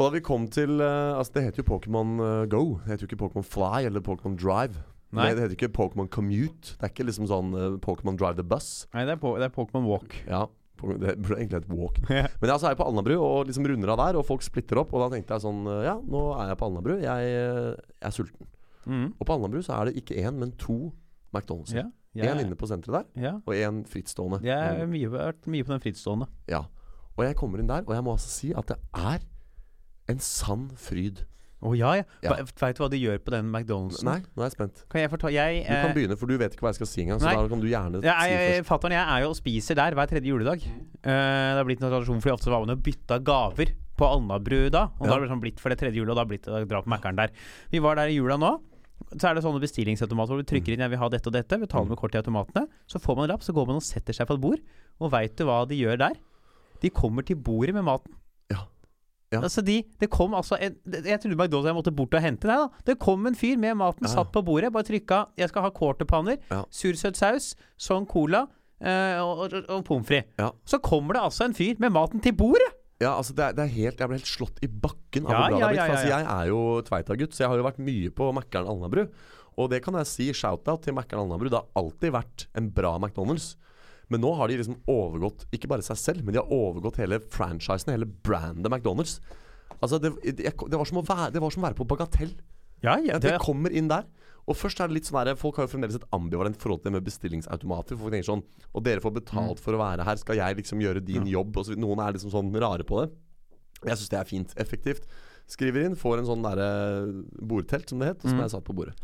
[SPEAKER 3] Og da vi kom til eh, Altså, det heter jo Pokémon eh, Go. Det heter jo ikke Pokémon Fly eller Pokémon Drive.
[SPEAKER 2] Nei.
[SPEAKER 3] Nei. Det heter ikke Pokémon Commute. Det er ikke liksom sånn eh, Pokémon Drive the Bus.
[SPEAKER 2] Nei, det er, på, det er Pokémon Walk.
[SPEAKER 3] Ja, på- det burde egentlig hett walk.
[SPEAKER 2] [laughs] Ja.
[SPEAKER 3] Men ja, så er jeg på Alnabru og liksom runder av der, og folk splitter opp. Og da tenkte jeg sånn Ja, nå er jeg på Alnabru. Jeg, eh, jeg er sulten.
[SPEAKER 2] Mm.
[SPEAKER 3] Og på Alnabru så er det ikke én, men to McDonald's.
[SPEAKER 2] Ja,
[SPEAKER 3] Én
[SPEAKER 2] jeg,
[SPEAKER 3] inne på senteret der,
[SPEAKER 2] ja.
[SPEAKER 3] og én frittstående.
[SPEAKER 2] Jeg har mye, vært mye på den frittstående.
[SPEAKER 3] Ja. Og jeg kommer inn der, og jeg må altså si at det er en sann fryd.
[SPEAKER 2] Å ja, ja.
[SPEAKER 3] Ja.
[SPEAKER 2] Veit du hva de gjør på den McDonald'sen?
[SPEAKER 3] Nei, nå er jeg spent.
[SPEAKER 2] Kan jeg fortelle Jeg,
[SPEAKER 3] Du kan
[SPEAKER 2] eh,
[SPEAKER 3] begynne, for du vet ikke hva jeg skal si engang. Så
[SPEAKER 2] Nei.
[SPEAKER 3] da kan du gjerne
[SPEAKER 2] Ja, jeg,
[SPEAKER 3] si først.
[SPEAKER 2] fatteren og jeg er jo og spiser der hver tredje juledag. Eh, det har blitt en tradisjon fordi ofte så var man og bytta gaver på Alnabru da. Og
[SPEAKER 3] Ja.
[SPEAKER 2] da har det sånn blitt for det tredje julet, og da har det blitt å dra på Mækkern der. Vi var der i jula nå. Så er det sånne bestillingsautomater hvor du
[SPEAKER 3] Mm.
[SPEAKER 2] trykker inn 'jeg vil ha dette og dette', betaler med kort i automatene. Så får man en lapp, så går man og setter seg på et bord, og veit du hva de gjør der? De kommer til bordet med maten.
[SPEAKER 3] Ja. Ja.
[SPEAKER 2] Altså de, det kom altså en, det- Jeg trodde McDonald's jeg måtte bort og hente. Nei da. Det kom en fyr med maten,
[SPEAKER 3] Ja, ja.
[SPEAKER 2] satt på bordet, bare trykka 'jeg skal ha quarterpanner',
[SPEAKER 3] Ja.
[SPEAKER 2] sursøt saus, sånn cola eh, og, og, og pommes frites.
[SPEAKER 3] Ja.
[SPEAKER 2] Så kommer det altså en fyr med maten til bordet!
[SPEAKER 3] Ja, altså det er, det er helt, Jeg ble helt slått i bakken av
[SPEAKER 2] Ja,
[SPEAKER 3] hvor bra
[SPEAKER 2] ja,
[SPEAKER 3] det har blitt.
[SPEAKER 2] ja,
[SPEAKER 3] for
[SPEAKER 2] ja,
[SPEAKER 3] altså,
[SPEAKER 2] ja.
[SPEAKER 3] Jeg er jo Tveita-gutt, så jeg har jo vært mye på Mækkern Alnabru. Og det kan jeg si, shout-out til Mækkern Alnabru. Det har alltid vært en bra McDonald's. Men nå har de liksom overgått ikke bare seg selv, men de har overgått hele franchisen, hele brandet McDonald's. Altså, det, det, det, var som å være, det var som å være på Bagatell.
[SPEAKER 2] Ja, ja,
[SPEAKER 3] At
[SPEAKER 2] det,
[SPEAKER 3] jeg kommer inn der. Og først er det litt sånn her, Folk har jo fremdeles et ambivalent forhold til det med bestillingsautomater. Folk tenker sånn Og dere får
[SPEAKER 2] Mm.
[SPEAKER 3] betalt for å være her, skal jeg liksom gjøre din jobb? Og så, vid- noen er liksom sånn rare på det. Jeg syns det er fint. Effektivt. Skriver inn, får en sånn derre bordtelt, som det het, og som
[SPEAKER 2] Mm.
[SPEAKER 3] jeg satt på bordet.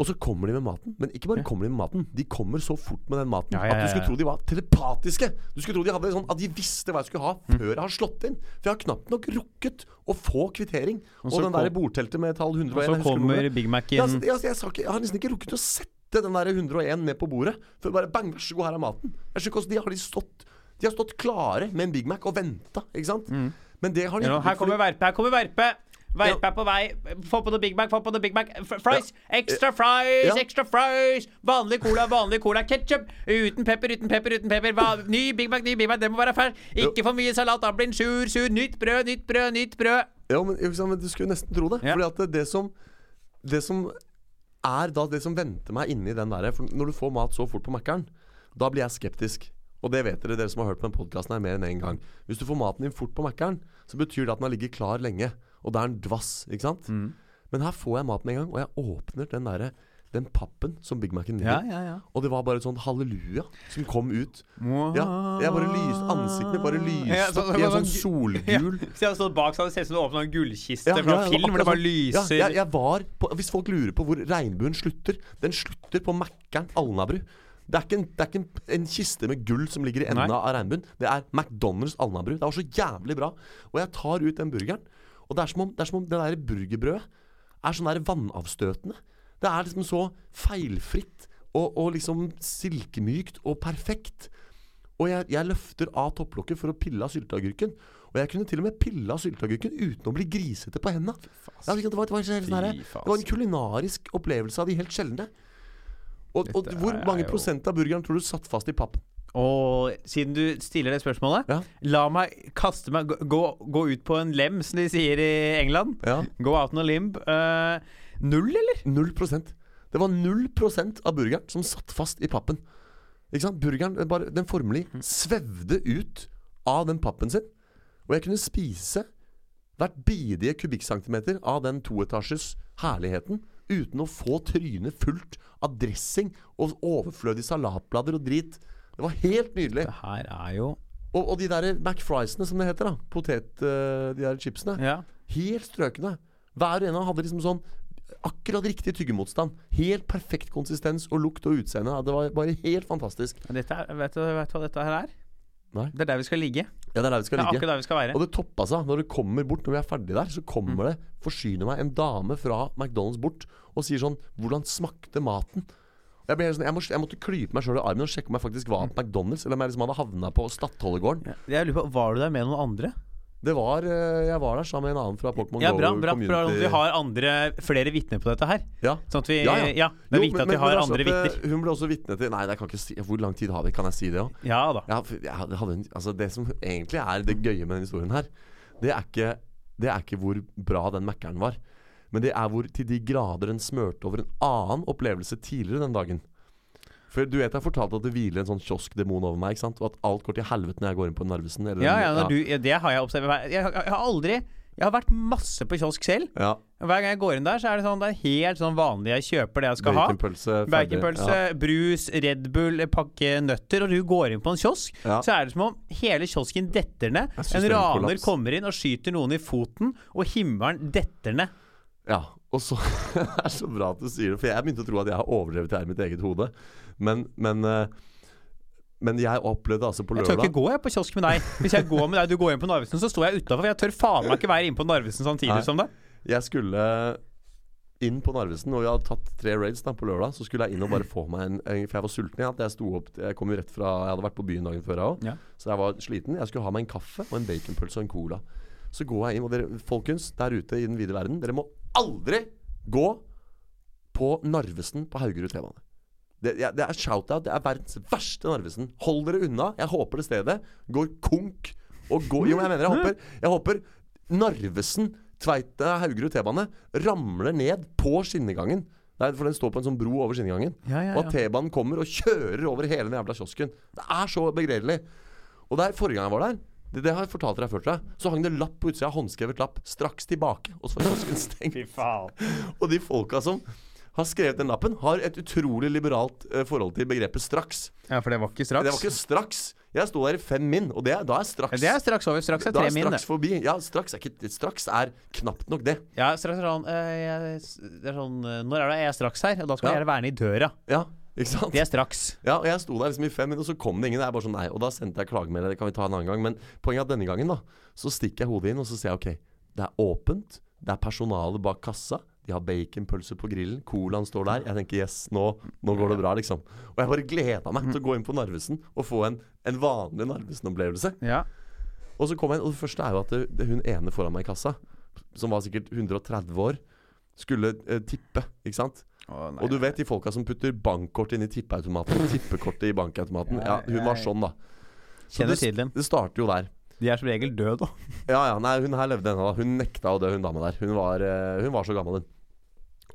[SPEAKER 3] Og så kommer de med maten. Men ikke bare
[SPEAKER 2] Ja.
[SPEAKER 3] kommer de med maten. De kommer så fort med den maten
[SPEAKER 2] Ja, ja,
[SPEAKER 3] at
[SPEAKER 2] ja,
[SPEAKER 3] du skulle
[SPEAKER 2] ja.
[SPEAKER 3] tro de var telepatiske. Du skulle tro de hadde sånn at de visste hva jeg skulle ha
[SPEAKER 2] Mm.
[SPEAKER 3] før jeg har slått inn. For jeg har knapt nok rukket å få kvittering. Og,
[SPEAKER 2] så
[SPEAKER 3] den der
[SPEAKER 2] kom-
[SPEAKER 3] bordteltet med tall 101
[SPEAKER 2] og
[SPEAKER 3] jeg
[SPEAKER 2] så
[SPEAKER 3] husker nummeret.
[SPEAKER 2] kommer Big Mac
[SPEAKER 3] Ja, altså,
[SPEAKER 2] inn.
[SPEAKER 3] det- altså, jeg, sa ikke, jeg har nesten ikke rukket å sette den der 101 ned på bordet. Før bare bang, vær så god, her er maten. Jeg skjønner ikke hvordan de har de stått De har stått klare med en Big Mac og venta, ikke sant? Men det har de
[SPEAKER 2] Mm. Ja,
[SPEAKER 3] ikke
[SPEAKER 2] her kommer Verpe, her kommer Verpe! Verpe
[SPEAKER 3] Ja.
[SPEAKER 2] er på vei. Få på noe Big Mac, få på noe Big Mac. F fries! Extra fries!
[SPEAKER 3] Ja.
[SPEAKER 2] Extra fries! Vanlig cola, vanlig cola. Ketchup! Uten pepper, uten pepper, uten pepper. Va- Ny Big Mac, ny Big Mac, det må være fersk. Ikke for mye salat, da blir den sur, sur. Nytt brød, nytt brød, nytt brød.
[SPEAKER 3] Ja, men, ikke sant, men du skulle nesten tro det.
[SPEAKER 2] Ja.
[SPEAKER 3] Fordi at det, det som Det som er da det som venter meg inni den der For når du får mat så fort på Mækkern, da blir jeg skeptisk. Og det vet dere, dere som har hørt på den podkasten her mer enn én gang. Hvis du får maten din fort på Mækkern, så betyr det at den har ligget klar lenge. Og det er en dvass, ikke sant?
[SPEAKER 2] Mm.
[SPEAKER 3] Men her får jeg maten med en gang, og jeg åpner den derre den pappen som Big Mac-en ligger i.
[SPEAKER 2] ja, ja.
[SPEAKER 3] Og det var bare et sånt halleluja som kom ut. Ja, jeg bare lyste, Ansiktene bare lyste
[SPEAKER 2] Ja, så-
[SPEAKER 3] opp i en sånn
[SPEAKER 2] så-
[SPEAKER 3] solgul
[SPEAKER 2] Hvis jeg hadde stått bak, så hadde det sett ut som det åpna en gullkiste
[SPEAKER 3] Ja,
[SPEAKER 2] fra
[SPEAKER 3] ja, ja,
[SPEAKER 2] en film. hvor
[SPEAKER 3] akkurat
[SPEAKER 2] det bare
[SPEAKER 3] sånn.
[SPEAKER 2] lyser.
[SPEAKER 3] Ja, jeg, jeg var på, hvis folk lurer på hvor regnbuen slutter Den slutter på Mækkern Alnabru. Det er ikke, en, det er ikke en, en kiste med gull som ligger i enden
[SPEAKER 2] Nei.
[SPEAKER 3] av regnbuen. Det er McDonald's Alnabru. Det var så jævlig bra. Og jeg tar ut den burgeren, og det er som om det, er som om det der burgerbrødet er sånn der vannavstøtende. Det er liksom så feilfritt og, og liksom silkemykt og perfekt. Og jeg, jeg løfter av topplokket for å pille av sylteagurken. Og jeg kunne til og med pille av sylteagurken uten å bli grisete på henda. Ja, ikke sant? det, var, det, var en sånn her-
[SPEAKER 2] Fy faen.
[SPEAKER 3] det var en kulinarisk opplevelse av de helt sjeldne. Og, og
[SPEAKER 2] Dette
[SPEAKER 3] hvor
[SPEAKER 2] er
[SPEAKER 3] mange
[SPEAKER 2] jo-
[SPEAKER 3] prosent av burgeren tror du satt fast i pappen?
[SPEAKER 2] Og siden du stiller det spørsmålet,
[SPEAKER 3] Ja.
[SPEAKER 2] la meg kaste meg gå, gå ut på en lem, som de sier i England.
[SPEAKER 3] Ja.
[SPEAKER 2] Go out on a limb. Eh, null, eller?
[SPEAKER 3] Null prosent. Det var null prosent av burgeren som satt fast i pappen. Ikke sant? Burgeren, den bare, den formelig svevde ut av den pappen sin. Og jeg kunne spise hvert bidige kubikkcentimeter av den toetasjes herligheten uten å få trynet fullt av dressing og overflødige salatblader og drit. Det var helt nydelig.
[SPEAKER 2] Det her er jo
[SPEAKER 3] Og, og de der McFriesene, som det heter. da Potet... eh, de der chipsene.
[SPEAKER 2] Ja.
[SPEAKER 3] Helt strøkne. Hver ene hadde liksom sånn akkurat riktig tyggemotstand. Helt perfekt konsistens og lukt og utseende. Ja, Det var bare helt fantastisk.
[SPEAKER 2] Dette er, vet, du, vet du hva dette her er?
[SPEAKER 3] Nei.
[SPEAKER 2] Det er der vi skal ligge.
[SPEAKER 3] Ja, det er der
[SPEAKER 2] Det Mm.
[SPEAKER 3] vi skal
[SPEAKER 2] er
[SPEAKER 3] ligge.
[SPEAKER 2] akkurat der vi skal være.
[SPEAKER 3] Og det toppa seg. Når du kommer bort, når vi er ferdig der, så kommer det, forsyner meg en dame fra McDonald's bort og sier sånn 'Hvordan smakte maten?' Jeg, ble helt sånn, jeg, må, jeg måtte klype meg sjøl i armen og sjekke om jeg faktisk var
[SPEAKER 2] Mm.
[SPEAKER 3] på McDonald's, eller om jeg liksom hadde havna på Stadholdegården.
[SPEAKER 2] Ja. Jeg lurer på, Var du der med noen andre?
[SPEAKER 3] Det var, eh, Jeg var der sammen med en annen fra Pokémon
[SPEAKER 2] Ja,
[SPEAKER 3] Go
[SPEAKER 2] bra, bra, bra at
[SPEAKER 3] Community.
[SPEAKER 2] vi har andre, flere vitner på dette her.
[SPEAKER 3] ja.
[SPEAKER 2] Sånn at vi Ja,
[SPEAKER 3] Ja, ja.
[SPEAKER 2] det er
[SPEAKER 3] Jo,
[SPEAKER 2] viktig
[SPEAKER 3] men-
[SPEAKER 2] at vi
[SPEAKER 3] men-
[SPEAKER 2] har
[SPEAKER 3] men altså
[SPEAKER 2] andre
[SPEAKER 3] at, eh,
[SPEAKER 2] vitner.
[SPEAKER 3] Hun ble også vitne til Nei, jeg kan ikke si Hvor lang tid har vi? Kan jeg si det òg?
[SPEAKER 2] Ja da.
[SPEAKER 3] Ja, for- ja, det hadde en- altså, det som egentlig er det gøye med denne historien her, det er ikke, det er ikke hvor bra den Mækkern var. Men det er hvor til de grader den smørte over en annen opplevelse tidligere den dagen. For du vet jeg fortalte at det hviler en sånn kioskdemon over meg, ikke sant? og at alt går til helvete når jeg går inn på Narvesen. Eller
[SPEAKER 2] Ja,
[SPEAKER 3] den-
[SPEAKER 2] ja, når du, ja, det har jeg observert. Jeg, jeg, jeg har aldri Jeg har vært masse på kiosk selv.
[SPEAKER 3] ja.
[SPEAKER 2] Hver gang jeg går inn der, så er det sånn Det er helt sånn vanlig. Jeg kjøper det jeg skal ha.
[SPEAKER 3] Baconpølse. ferdig.
[SPEAKER 2] Baconpølse, brus, Red Bull, eh, pakke nøtter. Og du går inn på en kiosk,
[SPEAKER 3] Ja.
[SPEAKER 2] så er det som om hele kiosken detter ned.
[SPEAKER 3] Jeg synes
[SPEAKER 2] En
[SPEAKER 3] det er en
[SPEAKER 2] raner
[SPEAKER 3] kollaps.
[SPEAKER 2] kommer inn og skyter noen i foten, og himmelen detter ned.
[SPEAKER 3] Ja, og så [laughs] Det er så bra at du sier det, for jeg begynte å tro at jeg har overdrevet det her i mitt eget hode. Men, men, eh, men jeg opplevde altså på
[SPEAKER 2] Jeg tør ikke
[SPEAKER 3] lørdag
[SPEAKER 2] gå jeg på kiosk med deg. Hvis jeg går med deg, du går inn på Narvesen, så står jeg utafor. Jeg tør faen meg ikke være inne på Narvesen samtidig
[SPEAKER 3] Nei.
[SPEAKER 2] som deg.
[SPEAKER 3] Jeg skulle inn på Narvesen, og vi hadde tatt tre raids da på lørdag. Så skulle jeg inn og bare få meg en, en For jeg var sulten. Jeg, jeg, sto opp, jeg kom jo rett fra Jeg hadde vært på byen dagen før, jeg òg.
[SPEAKER 2] Ja.
[SPEAKER 3] Så jeg var sliten. Jeg skulle ha meg en kaffe og en baconpølse og en cola. Så går jeg inn, og dere, folkens, der ute i den vide verden, dere må aldri gå på Narvesen på Haugerud T-bane. Det, jeg- det er shout-out. Det er verdens verste Narvesen. Hold dere unna. Jeg håper det stedet går konk og går Jo, men jeg mener jeg håper Jeg håper Narvesen, Tveita, Haugerud T-bane ramler ned på skinnegangen Nei, for den står på en sånn bro over skinnegangen.
[SPEAKER 2] Ja, ja,
[SPEAKER 3] Og at T-banen kommer og kjører over hele den jævla kiosken. Det er så begredelig. Og der, forrige gang jeg var der, det, det har jeg fortalt dere før, tror jeg, så hang det lapp på utsida, håndskrevet lapp, straks tilbake. Og så var kiosken stengt.
[SPEAKER 2] Fy faen.
[SPEAKER 3] Og de folka som har skrevet den lappen, har et utrolig liberalt eh, forhold til begrepet straks.
[SPEAKER 2] Ja, for det var ikke straks.
[SPEAKER 3] Det var ikke straks. Jeg sto der i fem min, og det, er- da er
[SPEAKER 2] Ja,
[SPEAKER 3] straks
[SPEAKER 2] det er straks over. Straks er
[SPEAKER 3] da
[SPEAKER 2] tre
[SPEAKER 3] er
[SPEAKER 2] min. det.
[SPEAKER 3] straks forbi. Ja, straks er, ikke, straks er knapt nok det.
[SPEAKER 2] Ja, straks er sånn, eh, jeg, det er sånn eh, Når er det jeg er straks her? Og da skal
[SPEAKER 3] Ja.
[SPEAKER 2] jeg gjerne være nede i døra.
[SPEAKER 3] Ja, ikke sant?
[SPEAKER 2] Det er straks.
[SPEAKER 3] Ja, og jeg sto der liksom i fem minutter, og så kom det ingen. Jeg er bare sånn, nei, Og da sendte jeg klagemelding. Det kan vi ta en annen gang. Men poenget er at denne gangen da, så stikker jeg hodet inn, og så sier jeg ok, det er åpent. Det er personale bak kassa. De har baconpølse på grillen. Colaen står der. Jeg tenker yes, nå, nå går det bra, liksom. Og jeg bare gleda meg til å gå inn på Narvesen og få en, en vanlig Narvesen-opplevelse.
[SPEAKER 2] Ja.
[SPEAKER 3] Og så kom jeg inn, og det første er jo at det, det, hun ene foran meg i kassa, som var sikkert 130 år, skulle eh, tippe, ikke sant.
[SPEAKER 2] Å, nei.
[SPEAKER 3] Og du vet de folka som putter bankkort inn i tippeautomaten? Tippekortet i bankautomaten. Ja, hun var sånn, da. Så
[SPEAKER 2] Kjenner
[SPEAKER 3] det,
[SPEAKER 2] til dem.
[SPEAKER 3] det starter jo der.
[SPEAKER 2] De er som regel døde, da.
[SPEAKER 3] Ja, ja, nei, hun her levde ennå, da. Hun nekta å dø, hun dama der. Hun var, eh, hun var så gammel, hun.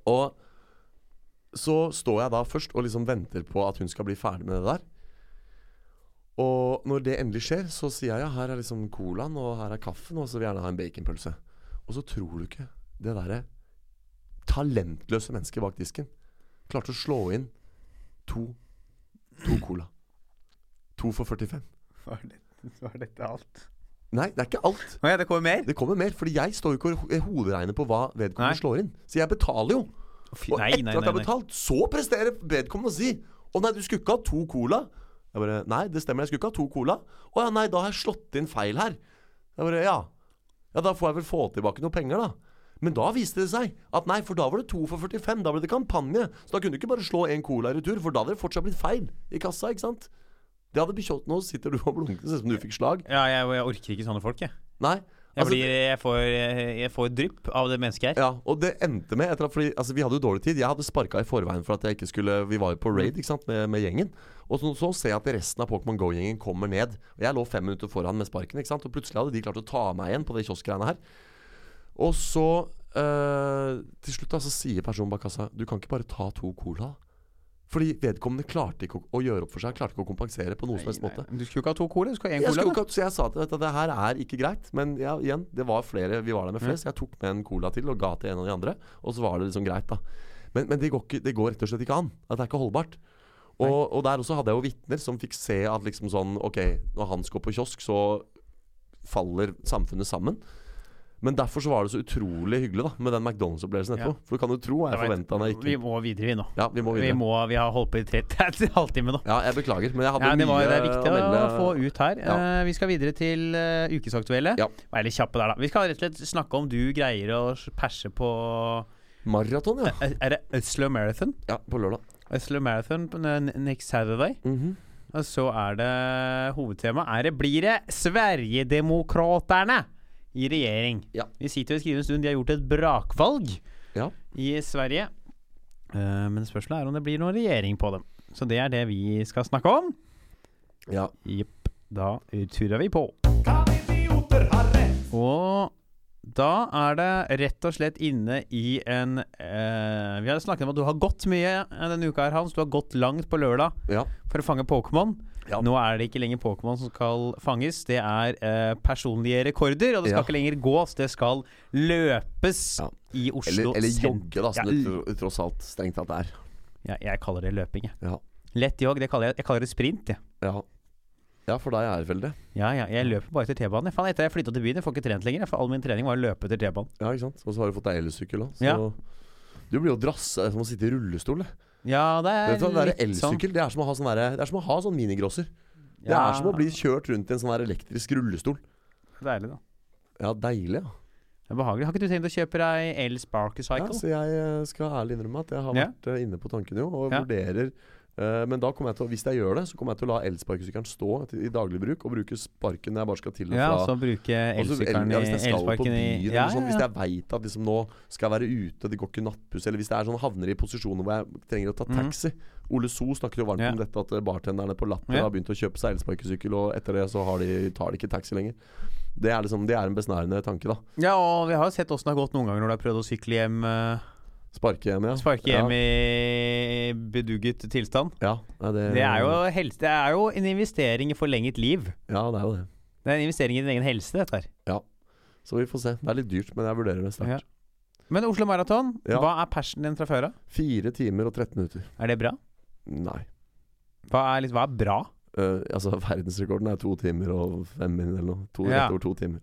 [SPEAKER 3] Og så står jeg da først og liksom venter på at hun skal bli ferdig med det der. Og når det endelig skjer, så sier jeg ja, her er liksom colaen, og her er kaffen, og så vil jeg gjerne ha en baconpølse. Og så tror du ikke det derre talentløse mennesket bak disken klarte å slå inn to, to cola. To for 45.
[SPEAKER 2] [laughs] Var dette, var dette alt?
[SPEAKER 3] Nei, det er ikke alt.
[SPEAKER 2] Å ja, det kommer mer?
[SPEAKER 3] Det kommer mer, fordi jeg står jo ikke og ho- hoderegner på hva vedkommende
[SPEAKER 2] Nei.
[SPEAKER 3] slår inn. Så jeg betaler jo.
[SPEAKER 2] Fy-
[SPEAKER 3] Og etter at jeg har betalt, så presterer vedkommende å si Å nei, du skulle ikke ha to cola. Jeg bare Nei, det stemmer, jeg skulle ikke ha to cola. Å ja, nei, da har jeg slått inn feil her. Jeg bare Ja. Ja, da får jeg vel få tilbake noe penger, da. Men da viste det seg at nei, for da var det to for 45. Da ble det kampanje. Så da kunne du ikke bare slå én cola i retur, for da hadde det fortsatt blitt feil i kassa, ikke sant? Det hadde bekjøpt Nå sitter du og blunker, det ser ut som du fikk slag.
[SPEAKER 2] Ja, jeg, jeg orker ikke sånne folk, jeg.
[SPEAKER 3] Nei.
[SPEAKER 2] Jeg,
[SPEAKER 3] altså-
[SPEAKER 2] blir, jeg, får, jeg, jeg får drypp av det mennesket her.
[SPEAKER 3] Ja, og det endte med etter at, fordi, altså, Vi hadde jo dårlig tid. Jeg hadde sparka i forveien for at jeg ikke skulle Vi var jo på raid ikke sant, med, med gjengen. Og så, så ser jeg at resten av Pokémon Go-gjengen kommer ned. Og Jeg lå fem minutter foran med sparken, ikke sant? og plutselig hadde de klart å ta meg igjen på det kioskgreiene her. Og så eh, Til slutt da, så sier personen bak kassa Du kan ikke bare ta to cola. Fordi vedkommende klarte ikke å, å gjøre opp for seg. Klarte ikke å kompensere på noen som helst måte.
[SPEAKER 2] Du skulle jo ikke ha to cola, du skulle ha én
[SPEAKER 3] Jeg skulle
[SPEAKER 2] cola.
[SPEAKER 3] jo ikke, ha- så jeg sa til deg at det her er ikke greit. Men ja, igjen, det var flere, vi var der med
[SPEAKER 2] Mm.
[SPEAKER 3] flest. Jeg tok med en cola til og ga til en av de andre. Og så var det liksom greit, da. Men, men det, går ikke, det går rett og slett ikke an. At det er ikke holdbart. Og, og der også hadde jeg jo vitner som fikk se at liksom sånn Ok, når Hans går på kiosk, så faller samfunnet sammen. Men derfor så var det så utrolig hyggelig da med den McDonald's-opplevelsen etterpå. For du kan jo tro hva jeg
[SPEAKER 2] Jeg vet.
[SPEAKER 3] forventa da jeg
[SPEAKER 2] Vi
[SPEAKER 3] gikk inn.
[SPEAKER 2] må videre, vi nå.
[SPEAKER 3] Ja, vi må
[SPEAKER 2] Vi,
[SPEAKER 3] videre.
[SPEAKER 2] må, vi har holdt på i tre, [laughs] en halvtime nå.
[SPEAKER 3] Ja, jeg beklager, men jeg hadde
[SPEAKER 2] Ja, det, var,
[SPEAKER 3] mye
[SPEAKER 2] det er viktig
[SPEAKER 3] å melde.
[SPEAKER 2] å få ut her.
[SPEAKER 3] Ja.
[SPEAKER 2] Eh, vi skal videre til eh, ukesaktuelle.
[SPEAKER 3] Ja.
[SPEAKER 2] Vær litt kjappe der, da. Vi skal rett og slett snakke om du greier å perse på [laughs]
[SPEAKER 3] Maraton, ja.
[SPEAKER 2] Er er det Oslo Marathon?
[SPEAKER 3] ja. På lørdag.
[SPEAKER 2] Oslo Marathon på n- next Saturday.
[SPEAKER 3] Mhm.
[SPEAKER 2] Og så er det hovedtemaet er det blir det Sverigedemokraterne i regjering.
[SPEAKER 3] Ja.
[SPEAKER 2] Vi sitter og skriver en stund. De har gjort et brakvalg
[SPEAKER 3] Ja.
[SPEAKER 2] i Sverige. Eh, men spørsmålet er om det blir noen regjering på dem. Så det er det vi skal snakke om.
[SPEAKER 3] Ja.
[SPEAKER 2] Jepp. Da turer vi på. Og da er det rett og slett inne i en eh, Vi har snakket om at du har gått mye eh, denne uka, her, Hans. Du har gått langt på lørdag
[SPEAKER 3] Ja.
[SPEAKER 2] for å fange Pokémon.
[SPEAKER 3] Ja.
[SPEAKER 2] Nå er det ikke lenger Pokémon som skal fanges, det er eh, personlige rekorder. Og det skal
[SPEAKER 3] Ja.
[SPEAKER 2] ikke lenger gås, det skal løpes
[SPEAKER 3] Ja.
[SPEAKER 2] i Oslo
[SPEAKER 3] Eller, eller
[SPEAKER 2] sentrum.
[SPEAKER 3] jogge, da, som
[SPEAKER 2] Ja,
[SPEAKER 3] det
[SPEAKER 2] l-
[SPEAKER 3] tro- tross alt strengt tatt er.
[SPEAKER 2] Ja, jeg kaller det løping, jeg.
[SPEAKER 3] Ja.
[SPEAKER 2] Lett jogg, det kaller jeg, jeg kaller det sprint, jeg.
[SPEAKER 3] Ja, ja for deg er det vel det.
[SPEAKER 2] Ja, ja, jeg løper bare etter T-banen. jeg. Faen, etter jeg flytta til byen, jeg får ikke trent lenger. jeg, For all min trening var å løpe etter T-banen.
[SPEAKER 3] Ja, ikke sant? Og så har du fått deg elsykkel òg.
[SPEAKER 2] Ja.
[SPEAKER 3] Du blir jo drassa det er som å sitte i rullestol. det.
[SPEAKER 2] Ja, det er
[SPEAKER 3] Vet du hva, det der
[SPEAKER 2] litt sånn.
[SPEAKER 3] Elsykkel det er som å ha sånn, derre- det er som å ha sånn minigrosser. Det
[SPEAKER 2] Ja,
[SPEAKER 3] er som å bli kjørt rundt i en sånn der elektrisk rullestol.
[SPEAKER 2] Deilig, da.
[SPEAKER 3] Ja, deilig. Ja.
[SPEAKER 2] Det er behagelig. Har ikke du tenkt å kjøpe deg El-Sparker
[SPEAKER 3] Ja,
[SPEAKER 2] Cycle?
[SPEAKER 3] så jeg eh, skal ærlig innrømme at jeg har
[SPEAKER 2] Ja.
[SPEAKER 3] vært eh, inne på tanken jo, og
[SPEAKER 2] Ja.
[SPEAKER 3] vurderer eh, men da kommer jeg til å, hvis jeg gjør det, så kommer jeg til å la elsparkesykkelen stå til, i daglig bruk, og bruke sparken når jeg bare skal til og
[SPEAKER 2] Ja,
[SPEAKER 3] fra
[SPEAKER 2] og så bruke
[SPEAKER 3] Altså,
[SPEAKER 2] elsykkelen
[SPEAKER 3] el-
[SPEAKER 2] i
[SPEAKER 3] ja, hvis jeg skal på
[SPEAKER 2] elsparken
[SPEAKER 3] byen,
[SPEAKER 2] i
[SPEAKER 3] eller
[SPEAKER 2] Ja, ja,
[SPEAKER 3] sånn, hvis
[SPEAKER 2] ja.
[SPEAKER 3] jeg veit at liksom, nå skal jeg være ute, det går ikke nattbuss, eller hvis det er sånn havner i posisjoner hvor jeg trenger å ta
[SPEAKER 2] Mhm.
[SPEAKER 3] taxi Ole So snakker jo varmt
[SPEAKER 2] Ja.
[SPEAKER 3] om dette at eh, bartenderne på Latter
[SPEAKER 2] Ja.
[SPEAKER 3] har begynt å kjøpe seg elsparkesykkel, og etter det så har de, tar de ikke taxi lenger. Det er, liksom, det er en besnærende tanke, da.
[SPEAKER 2] Ja, og vi har jo sett åssen det har gått noen ganger når du har prøvd å sykle hjem eh,
[SPEAKER 3] Sparke hjem, ja.
[SPEAKER 2] Sparke hjem
[SPEAKER 3] ja.
[SPEAKER 2] i bedugget tilstand.
[SPEAKER 3] Ja, nei, det,
[SPEAKER 2] Det er, jo
[SPEAKER 3] Eh.
[SPEAKER 2] helse, det er jo en investering i forlenget liv.
[SPEAKER 3] Ja, det er jo det.
[SPEAKER 2] Det er en investering i din egen helse, dette her.
[SPEAKER 3] Så vi får se. Det er litt dyrt, men jeg vurderer det sterkt.
[SPEAKER 2] Ja. Men Oslo Maraton,
[SPEAKER 3] Ja.
[SPEAKER 2] hva er passionen din fra før av?
[SPEAKER 3] Fire timer og 13 minutter.
[SPEAKER 2] Er det bra?
[SPEAKER 3] Nei.
[SPEAKER 2] Hva er, litt, hva er bra?
[SPEAKER 3] Eh, altså, [laughs] verdensrekorden er to timer og fem min eller noe. To,
[SPEAKER 2] Ja.
[SPEAKER 3] Rett over to timer.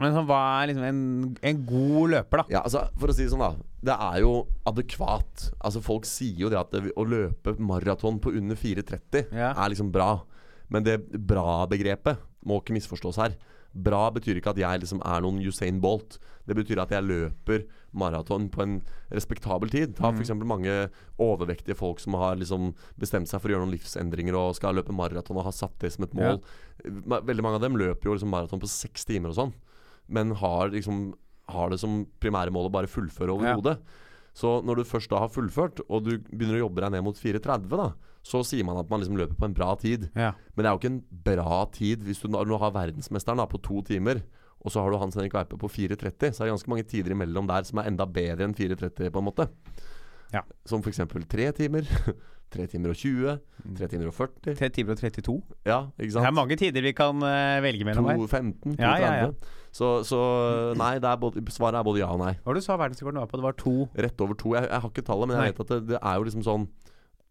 [SPEAKER 2] Men sånn, hva er liksom en, en god løper, da?
[SPEAKER 3] Ja, altså, for å si det sånn, da. Det er jo adekvat. Altså, folk sier jo det at det, å løpe maraton på under 4,30
[SPEAKER 2] Ja.
[SPEAKER 3] er liksom bra. Men det bra-begrepet må ikke misforstås her. Bra betyr ikke at jeg liksom er noen Usain Bolt. Det betyr at jeg løper maraton på en respektabel tid.
[SPEAKER 2] Mm.
[SPEAKER 3] Ta f.eks. mange overvektige folk som har liksom bestemt seg for å gjøre noen livsendringer og skal løpe maraton og har satt det som et mål. Ma- Veldig mange av dem løper jo liksom maraton på seks timer og sånn, men har liksom har det som primære mål å bare fullføre overhodet. Så når du først da har fullført, og du begynner å jobbe deg ned mot 4.30, da, så sier man at man liksom løper på en bra tid.
[SPEAKER 2] Ja.
[SPEAKER 3] Men det er jo ikke en bra tid hvis du nå nå har verdensmesteren da, på to timer, og så har du Hans Henrik Weipe på 4.30. Så er det ganske mange tider imellom der som er enda bedre enn 4.30, på en måte.
[SPEAKER 2] Ja.
[SPEAKER 3] Som f.eks. tre timer, [laughs] tre timer og 20,
[SPEAKER 2] Mm.
[SPEAKER 3] tre timer og 40.
[SPEAKER 2] 3 timer og 32.
[SPEAKER 3] Ja, ikke
[SPEAKER 2] Det
[SPEAKER 3] sant?
[SPEAKER 2] er mange tider vi kan eh, velge mellom her.
[SPEAKER 3] 2.15, 2.30.
[SPEAKER 2] Ja, ja, Mm. ja.
[SPEAKER 3] Så, så nei, det er både, svaret er både ja og nei.
[SPEAKER 2] Hva var det du sa verdensrekorden var på? Det var to
[SPEAKER 3] Rett over to. Jeg, jeg har ikke tallet, men jeg
[SPEAKER 2] Nei.
[SPEAKER 3] vet at det, det er jo liksom sånn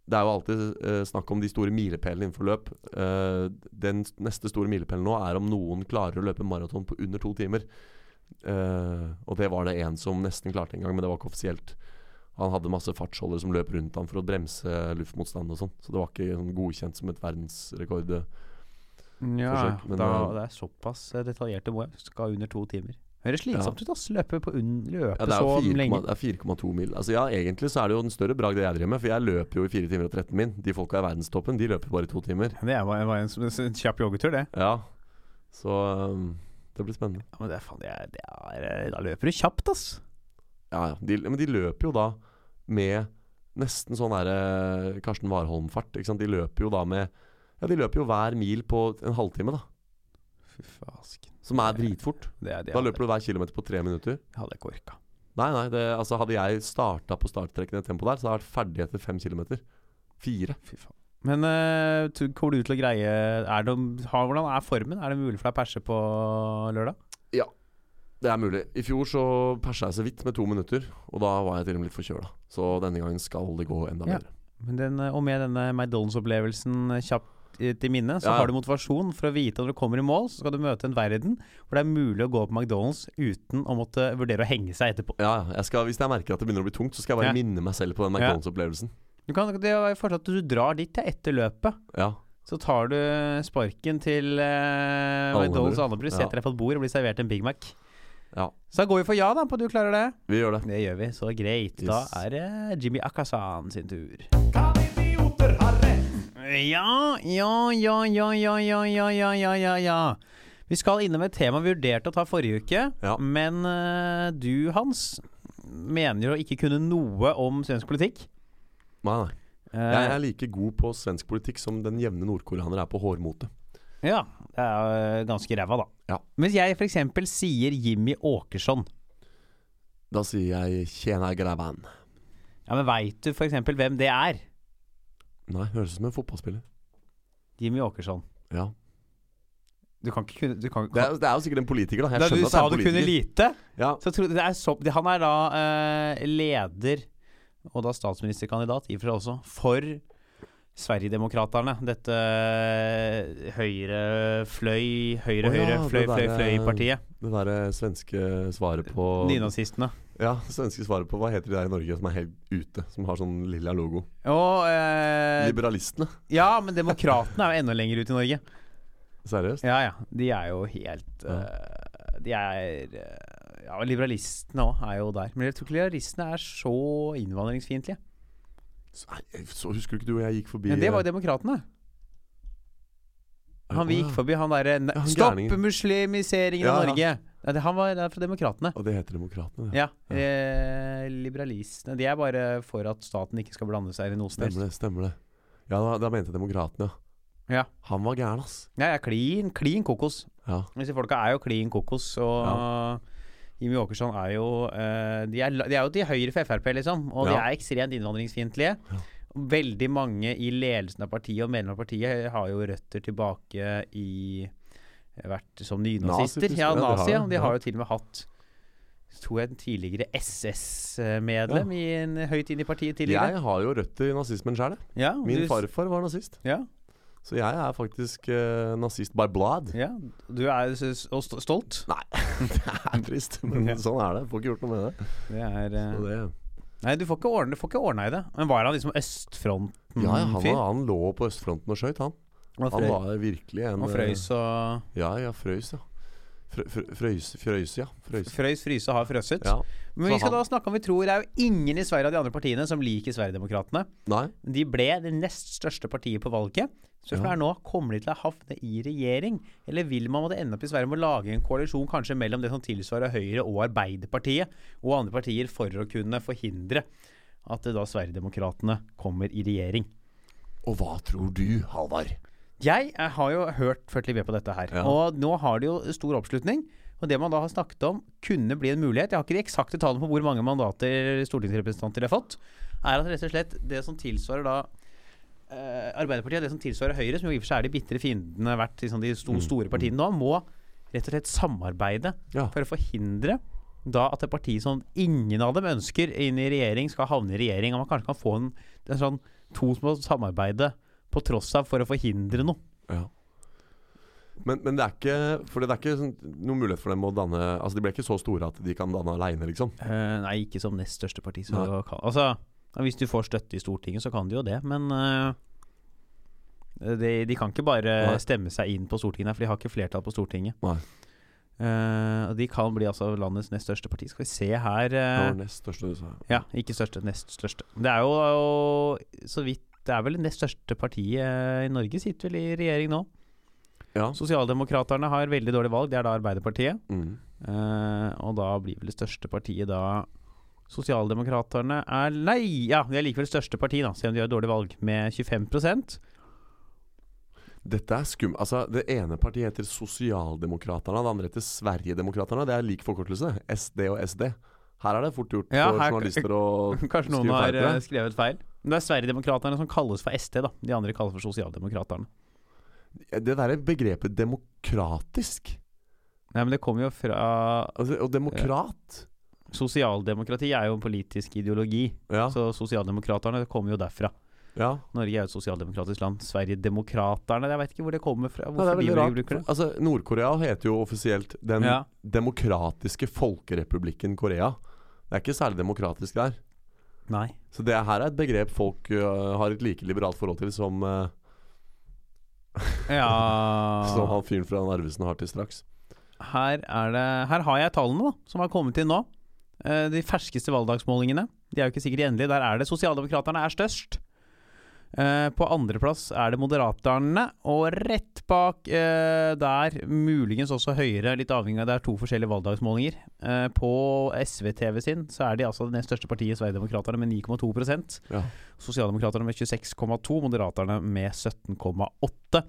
[SPEAKER 3] Det er jo alltid eh, snakk om de store milepælene innenfor løp. Eh, den s- neste store milepælen nå er om noen klarer å løpe maraton på under to timer. Eh, og det var det en som nesten klarte en gang, men det var ikke offisielt. Han hadde masse fartsholdere som løp rundt ham for å bremse luftmotstand og sånn. Så det var ikke sånn godkjent som et verdensrekord.
[SPEAKER 2] ja,
[SPEAKER 3] forsøk, men,
[SPEAKER 2] da,
[SPEAKER 3] eh,
[SPEAKER 2] Det er såpass eh, detaljerte mål. Skal under to timer. Høres slitsomt ut, ass. Løpe, på unn, løpe
[SPEAKER 3] Ja, det er
[SPEAKER 2] så
[SPEAKER 3] jo 4,2
[SPEAKER 2] lenge.
[SPEAKER 3] det er 4,2 mil. Altså, ja, egentlig så er det jo en større bragd det jeg driver med, for jeg løper jo i 4 timer og 13 min. De folka i verdenstoppen, de løper bare i to timer.
[SPEAKER 2] Det er bare- bare en, s- en kjapp joggetur, det.
[SPEAKER 3] Ja, så um, det blir spennende.
[SPEAKER 2] Ja, men det er faen, det er, det er, eh, da løper du kjapt, ass.
[SPEAKER 3] Ja, ja. De, men de løper jo da med nesten sånn derre Karsten Warholm-fart. ikke sant? De løper jo da med Ja, de løper jo hver mil på en halvtime, da.
[SPEAKER 2] Fy fasken.
[SPEAKER 3] Som er dritfort.
[SPEAKER 2] Det er det
[SPEAKER 3] Da løper du hver kilometer på tre minutter.
[SPEAKER 2] Hadde jeg ikke orka.
[SPEAKER 3] Nei, nei, det, altså hadde jeg starta på starttrekkende tempo der, så hadde jeg vært ferdig etter fem kilometer. Fire.
[SPEAKER 2] Fy faen. Men eh, tror- kommer du til å greie er det, har, Hvordan er formen? Er det mulig for deg å perse på lørdag?
[SPEAKER 3] Det er mulig. I fjor så persa jeg så vidt med to minutter, og da var jeg til og med litt forkjøla. Så denne gangen skal det gå enda
[SPEAKER 2] Ja.
[SPEAKER 3] bedre.
[SPEAKER 2] Men den, eh, og med denne McDonald's-opplevelsen eh, kjapt eh, til minne, så
[SPEAKER 3] Ja, ja.
[SPEAKER 2] har du motivasjon for å vite at når du kommer i mål, så skal du møte en verden hvor det er mulig å gå på McDonald's uten å måtte vurdere å henge seg etterpå.
[SPEAKER 3] Ja, ja. Jeg skal, hvis jeg merker at det begynner å bli tungt, så skal jeg bare
[SPEAKER 2] Ja.
[SPEAKER 3] minne meg selv på den
[SPEAKER 2] Ja.
[SPEAKER 3] McDonald's-opplevelsen.
[SPEAKER 2] Du kan, det er fortsatt at du drar dit ja, etter løpet.
[SPEAKER 3] Ja.
[SPEAKER 2] Så tar du eh, sparken til eh,
[SPEAKER 3] Alnabru.
[SPEAKER 2] McDonald's Alnabru,
[SPEAKER 3] Ja.
[SPEAKER 2] setter deg på et bord og blir servert en Big Mac.
[SPEAKER 3] Ja.
[SPEAKER 2] Så da går vi for ja, da, på at du klarer det.
[SPEAKER 3] Vi gjør det.
[SPEAKER 2] Det gjør vi, så greit. Da
[SPEAKER 3] Yes.
[SPEAKER 2] er det Jimmy Akasan sin tur. Ja, ja, ja, ja, ja, ja, ja, ja, ja, ja, ja. Vi skal innom et tema vi vurderte å ta forrige uke,
[SPEAKER 3] Ja.
[SPEAKER 2] men eh, du, Hans, mener jo å ikke kunne noe om svensk politikk.
[SPEAKER 3] Nei, nei.
[SPEAKER 2] Eh,
[SPEAKER 3] Jeg er like god på svensk politikk som den jevne nordkoreaner er på hårmote.
[SPEAKER 2] ja, det er eh, ganske ræva, da.
[SPEAKER 3] Ja.
[SPEAKER 2] Mens jeg f.eks. sier Jimmy Åkesson.
[SPEAKER 3] Da sier jeg 'tjena grabban'.
[SPEAKER 2] Ja, men veit du f.eks. hvem det er?
[SPEAKER 3] Nei, høres ut som en fotballspiller.
[SPEAKER 2] Jimmy Åkesson.
[SPEAKER 3] Ja.
[SPEAKER 2] Du kan ikke kunne du kan,
[SPEAKER 3] Det er, det er jo sikkert en politiker, da. Jeg
[SPEAKER 2] Da du
[SPEAKER 3] skjønner at det
[SPEAKER 2] sa
[SPEAKER 3] er
[SPEAKER 2] du
[SPEAKER 3] en
[SPEAKER 2] kunne
[SPEAKER 3] politiker.
[SPEAKER 2] lite,
[SPEAKER 3] Ja.
[SPEAKER 2] Så tror, det er så, det, han er da eh, leder, og da statsministerkandidat i og for seg også, for Sverigedemokraterna. Dette eh, høyrefløy,
[SPEAKER 3] Å ja, det eh,
[SPEAKER 2] høyre-høyre-fløy-fløy-fløy-partiet.
[SPEAKER 3] Det derre eh, svenske svaret på
[SPEAKER 2] Nynazistene.
[SPEAKER 3] Ja, svenske svaret på Hva heter de der i Norge som er helt ute? Som har sånn lilla logo?
[SPEAKER 2] Og eh,
[SPEAKER 3] Liberalistene.
[SPEAKER 2] Ja, men demokratene er jo enda lenger ut i Norge.
[SPEAKER 3] Seriøst?
[SPEAKER 2] Ja ja. De er jo helt
[SPEAKER 3] Ja.
[SPEAKER 2] eh, De er eh, Ja, liberalistene òg er jo der. Men jeg tror ikke liberalistene er så innvandringsfiendtlige.
[SPEAKER 3] Så, nei, så husker du ikke du og jeg gikk forbi
[SPEAKER 2] Men det var jo demokratene. Han vi gikk forbi, han derre
[SPEAKER 3] Ja, han
[SPEAKER 2] Stopp
[SPEAKER 3] gærningen.
[SPEAKER 2] muslimiseringen
[SPEAKER 3] Ja,
[SPEAKER 2] av
[SPEAKER 3] ja.
[SPEAKER 2] Norge! Nei, det, han var det er fra Demokratene.
[SPEAKER 3] Og det heter Demokratene.
[SPEAKER 2] Ja. Eh, liberalistene. De er bare for at staten ikke skal blande seg inn i noe som helst.
[SPEAKER 3] Stemmer det, stemmer det. Ja, da, da mente jeg Demokratene,
[SPEAKER 2] Ja.
[SPEAKER 3] Han var gæren, ass.
[SPEAKER 2] Ja, jeg er klin, klin kokos.
[SPEAKER 3] Ja.
[SPEAKER 2] Disse folka er jo klin kokos, og Jimmy Åkesson er jo eh, de, er, la- de er jo til høyre for Frp, liksom. Og de
[SPEAKER 3] Ja.
[SPEAKER 2] er ekstremt innvandringsfiendtlige. Veldig mange i ledelsen av partiet og medlemmer av partiet eh, har jo røtter tilbake i eh, Vært som nynazister.
[SPEAKER 3] Nazityskere,
[SPEAKER 2] Ja,
[SPEAKER 3] ja, de har
[SPEAKER 2] nazi. Ja.
[SPEAKER 3] det,
[SPEAKER 2] De
[SPEAKER 3] ja.
[SPEAKER 2] har jo til og med hatt tror jeg en tidligere SS-medlem i en, eh, høyt inn i partiet tidligere.
[SPEAKER 3] Jeg har jo røtter i nazismen sjøl.
[SPEAKER 2] Ja,
[SPEAKER 3] Min
[SPEAKER 2] du-
[SPEAKER 3] farfar var nazist.
[SPEAKER 2] Ja,
[SPEAKER 3] Så jeg er faktisk eh, nazist
[SPEAKER 2] [laughs]
[SPEAKER 3] by blood.
[SPEAKER 2] ja. Du er s- s- og st- stolt.
[SPEAKER 3] Det er trist, men
[SPEAKER 2] Ja.
[SPEAKER 3] sånn er det. Får ikke gjort noe med det.
[SPEAKER 2] Det er eh,
[SPEAKER 3] Så det
[SPEAKER 2] Nei, du får ikke ordna, du får ikke ordna i det. Men var han liksom østfronten-fyr?
[SPEAKER 3] ja, ja, han, var, han lå på østfronten og skøyt, han. Han
[SPEAKER 2] frø-
[SPEAKER 3] var virkelig en
[SPEAKER 2] han frøys og
[SPEAKER 3] eh, Ja, ja, frøys, ja. Frø, frø, frøys, frøys, ja. Frøys.
[SPEAKER 2] Frøys, fryse og har frøsset.
[SPEAKER 3] Ja.
[SPEAKER 2] Men
[SPEAKER 3] så
[SPEAKER 2] vi skal
[SPEAKER 3] han-
[SPEAKER 2] da snakke om vi tror. Det er jo ingen i Sverige av de andre partiene som liker Sverigedemokraterna.
[SPEAKER 3] Nei.
[SPEAKER 2] De ble det nest største partiet på valget. Spørsmålet
[SPEAKER 3] Ja.
[SPEAKER 2] er nå, kommer de til å havne i regjering? Eller vil man måtte ende opp i Sverige med å lage en koalisjon kanskje mellom det som tilsvarer Høyre og Arbeiderpartiet, og andre partier for å kunne forhindre at eh, da Sverigedemokraterna kommer i regjering?
[SPEAKER 3] Og hva tror du, Halvard?
[SPEAKER 2] Jeg eh, har jo hørt ført litt med på dette her.
[SPEAKER 3] Ja.
[SPEAKER 2] Og nå har det jo stor oppslutning. Og det man da har snakket om, kunne bli en mulighet. Jeg har ikke de eksakte tallene på hvor mange mandater stortingsrepresentanter har fått. Er at rett og slett det som tilsvarer da eh, Arbeiderpartiet, det som tilsvarer Høyre, som jo i og for seg er de bitre fiendene vært liksom de
[SPEAKER 3] Mm.
[SPEAKER 2] sto, store partiene nå, må rett og slett samarbeide
[SPEAKER 3] Ja.
[SPEAKER 2] for å forhindre da at et parti som ingen av dem ønsker inn i regjering, skal havne i regjering. Og man kanskje kan få en, en sånn to som må samarbeide på tross av for å forhindre noe.
[SPEAKER 3] Ja. Men, men det er ikke For det er ikke sånn, noen mulighet for dem å danne Altså De ble ikke så store at de kan danne aleine, liksom.
[SPEAKER 2] Eh, nei, ikke som nest største parti. Så
[SPEAKER 3] Nei.
[SPEAKER 2] kan, altså, ja, hvis du får støtte i Stortinget, så kan du jo det, men eh, de, de kan ikke bare
[SPEAKER 3] Nei.
[SPEAKER 2] stemme seg inn på Stortinget, for de har ikke flertall på Stortinget.
[SPEAKER 3] Nei.
[SPEAKER 2] Eh, og de kan bli altså landets nest største parti. Skal vi se her
[SPEAKER 3] Det
[SPEAKER 2] eh,
[SPEAKER 3] var nest største du sa.
[SPEAKER 2] Ja, ikke største, nest største. Det er jo så vidt Det er vel det nest største partiet i Norge sitter vel i regjering nå.
[SPEAKER 3] Ja.
[SPEAKER 2] Sosialdemokraterne har veldig dårlig valg, det er da Arbeiderpartiet.
[SPEAKER 3] Mm.
[SPEAKER 2] Eh, og da blir vel det største partiet da Sosialdemokraterne er Nei! Ja, de er likevel det største partiet, da, selv om de har et dårlig valg, med 25
[SPEAKER 3] Dette er skum... Altså, det ene partiet heter Sosialdemokraterna, det andre heter Sverigedemokraterna. Det er lik forkortelse. SD og SD. Her er det fort gjort
[SPEAKER 2] Ja,
[SPEAKER 3] for
[SPEAKER 2] her-
[SPEAKER 3] journalister å
[SPEAKER 2] [laughs] Kanskje noen har
[SPEAKER 3] Skriver feil på det.
[SPEAKER 2] eh, skrevet feil. Men det er Sverigedemokraterne som kalles for SD, da. De andre kalles for Sosialdemokraterne.
[SPEAKER 3] Det derre begrepet 'demokratisk'
[SPEAKER 2] Nei, men det kommer jo fra
[SPEAKER 3] altså, og 'demokrat'
[SPEAKER 2] Sosialdemokrati er jo en politisk ideologi,
[SPEAKER 3] Ja.
[SPEAKER 2] så Sosialdemokraterne kommer jo derfra.
[SPEAKER 3] ja.
[SPEAKER 2] Norge er jo et sosialdemokratisk land. Sverigedemokraterne Jeg veit ikke hvor det kommer fra.
[SPEAKER 3] Nei, det
[SPEAKER 2] Hvorfor
[SPEAKER 3] er
[SPEAKER 2] de
[SPEAKER 3] veldig
[SPEAKER 2] vel
[SPEAKER 3] rart.
[SPEAKER 2] bruker det.
[SPEAKER 3] Altså, Nord-Korea heter jo offisielt Den
[SPEAKER 2] Ja.
[SPEAKER 3] demokratiske folkerepublikken Korea. Det er ikke særlig demokratisk der.
[SPEAKER 2] Nei.
[SPEAKER 3] Så det her er et begrep folk øh, har et like liberalt forhold til som, øh, [laughs]
[SPEAKER 2] Ja
[SPEAKER 3] som han fyren fra Narvesen har til straks.
[SPEAKER 2] her, er det, her har jeg tallene da, som har kommet inn nå. Eh, De ferskeste valgdagsmålingene. De er jo ikke sikkert endelige. Der er det Sosialdemokraterne er størst. Eh, På andreplass er det Moderaterne, og rett bak eh, der, muligens også Høyre, litt avhengig av det er to forskjellige valgdagsmålinger. Eh, På SVTV sin så er de altså det nest største partiet, Sverigedemokraterne, med 9,2
[SPEAKER 3] Ja.
[SPEAKER 2] Sosialdemokraterne med 26,2, Moderaterne med 17,8.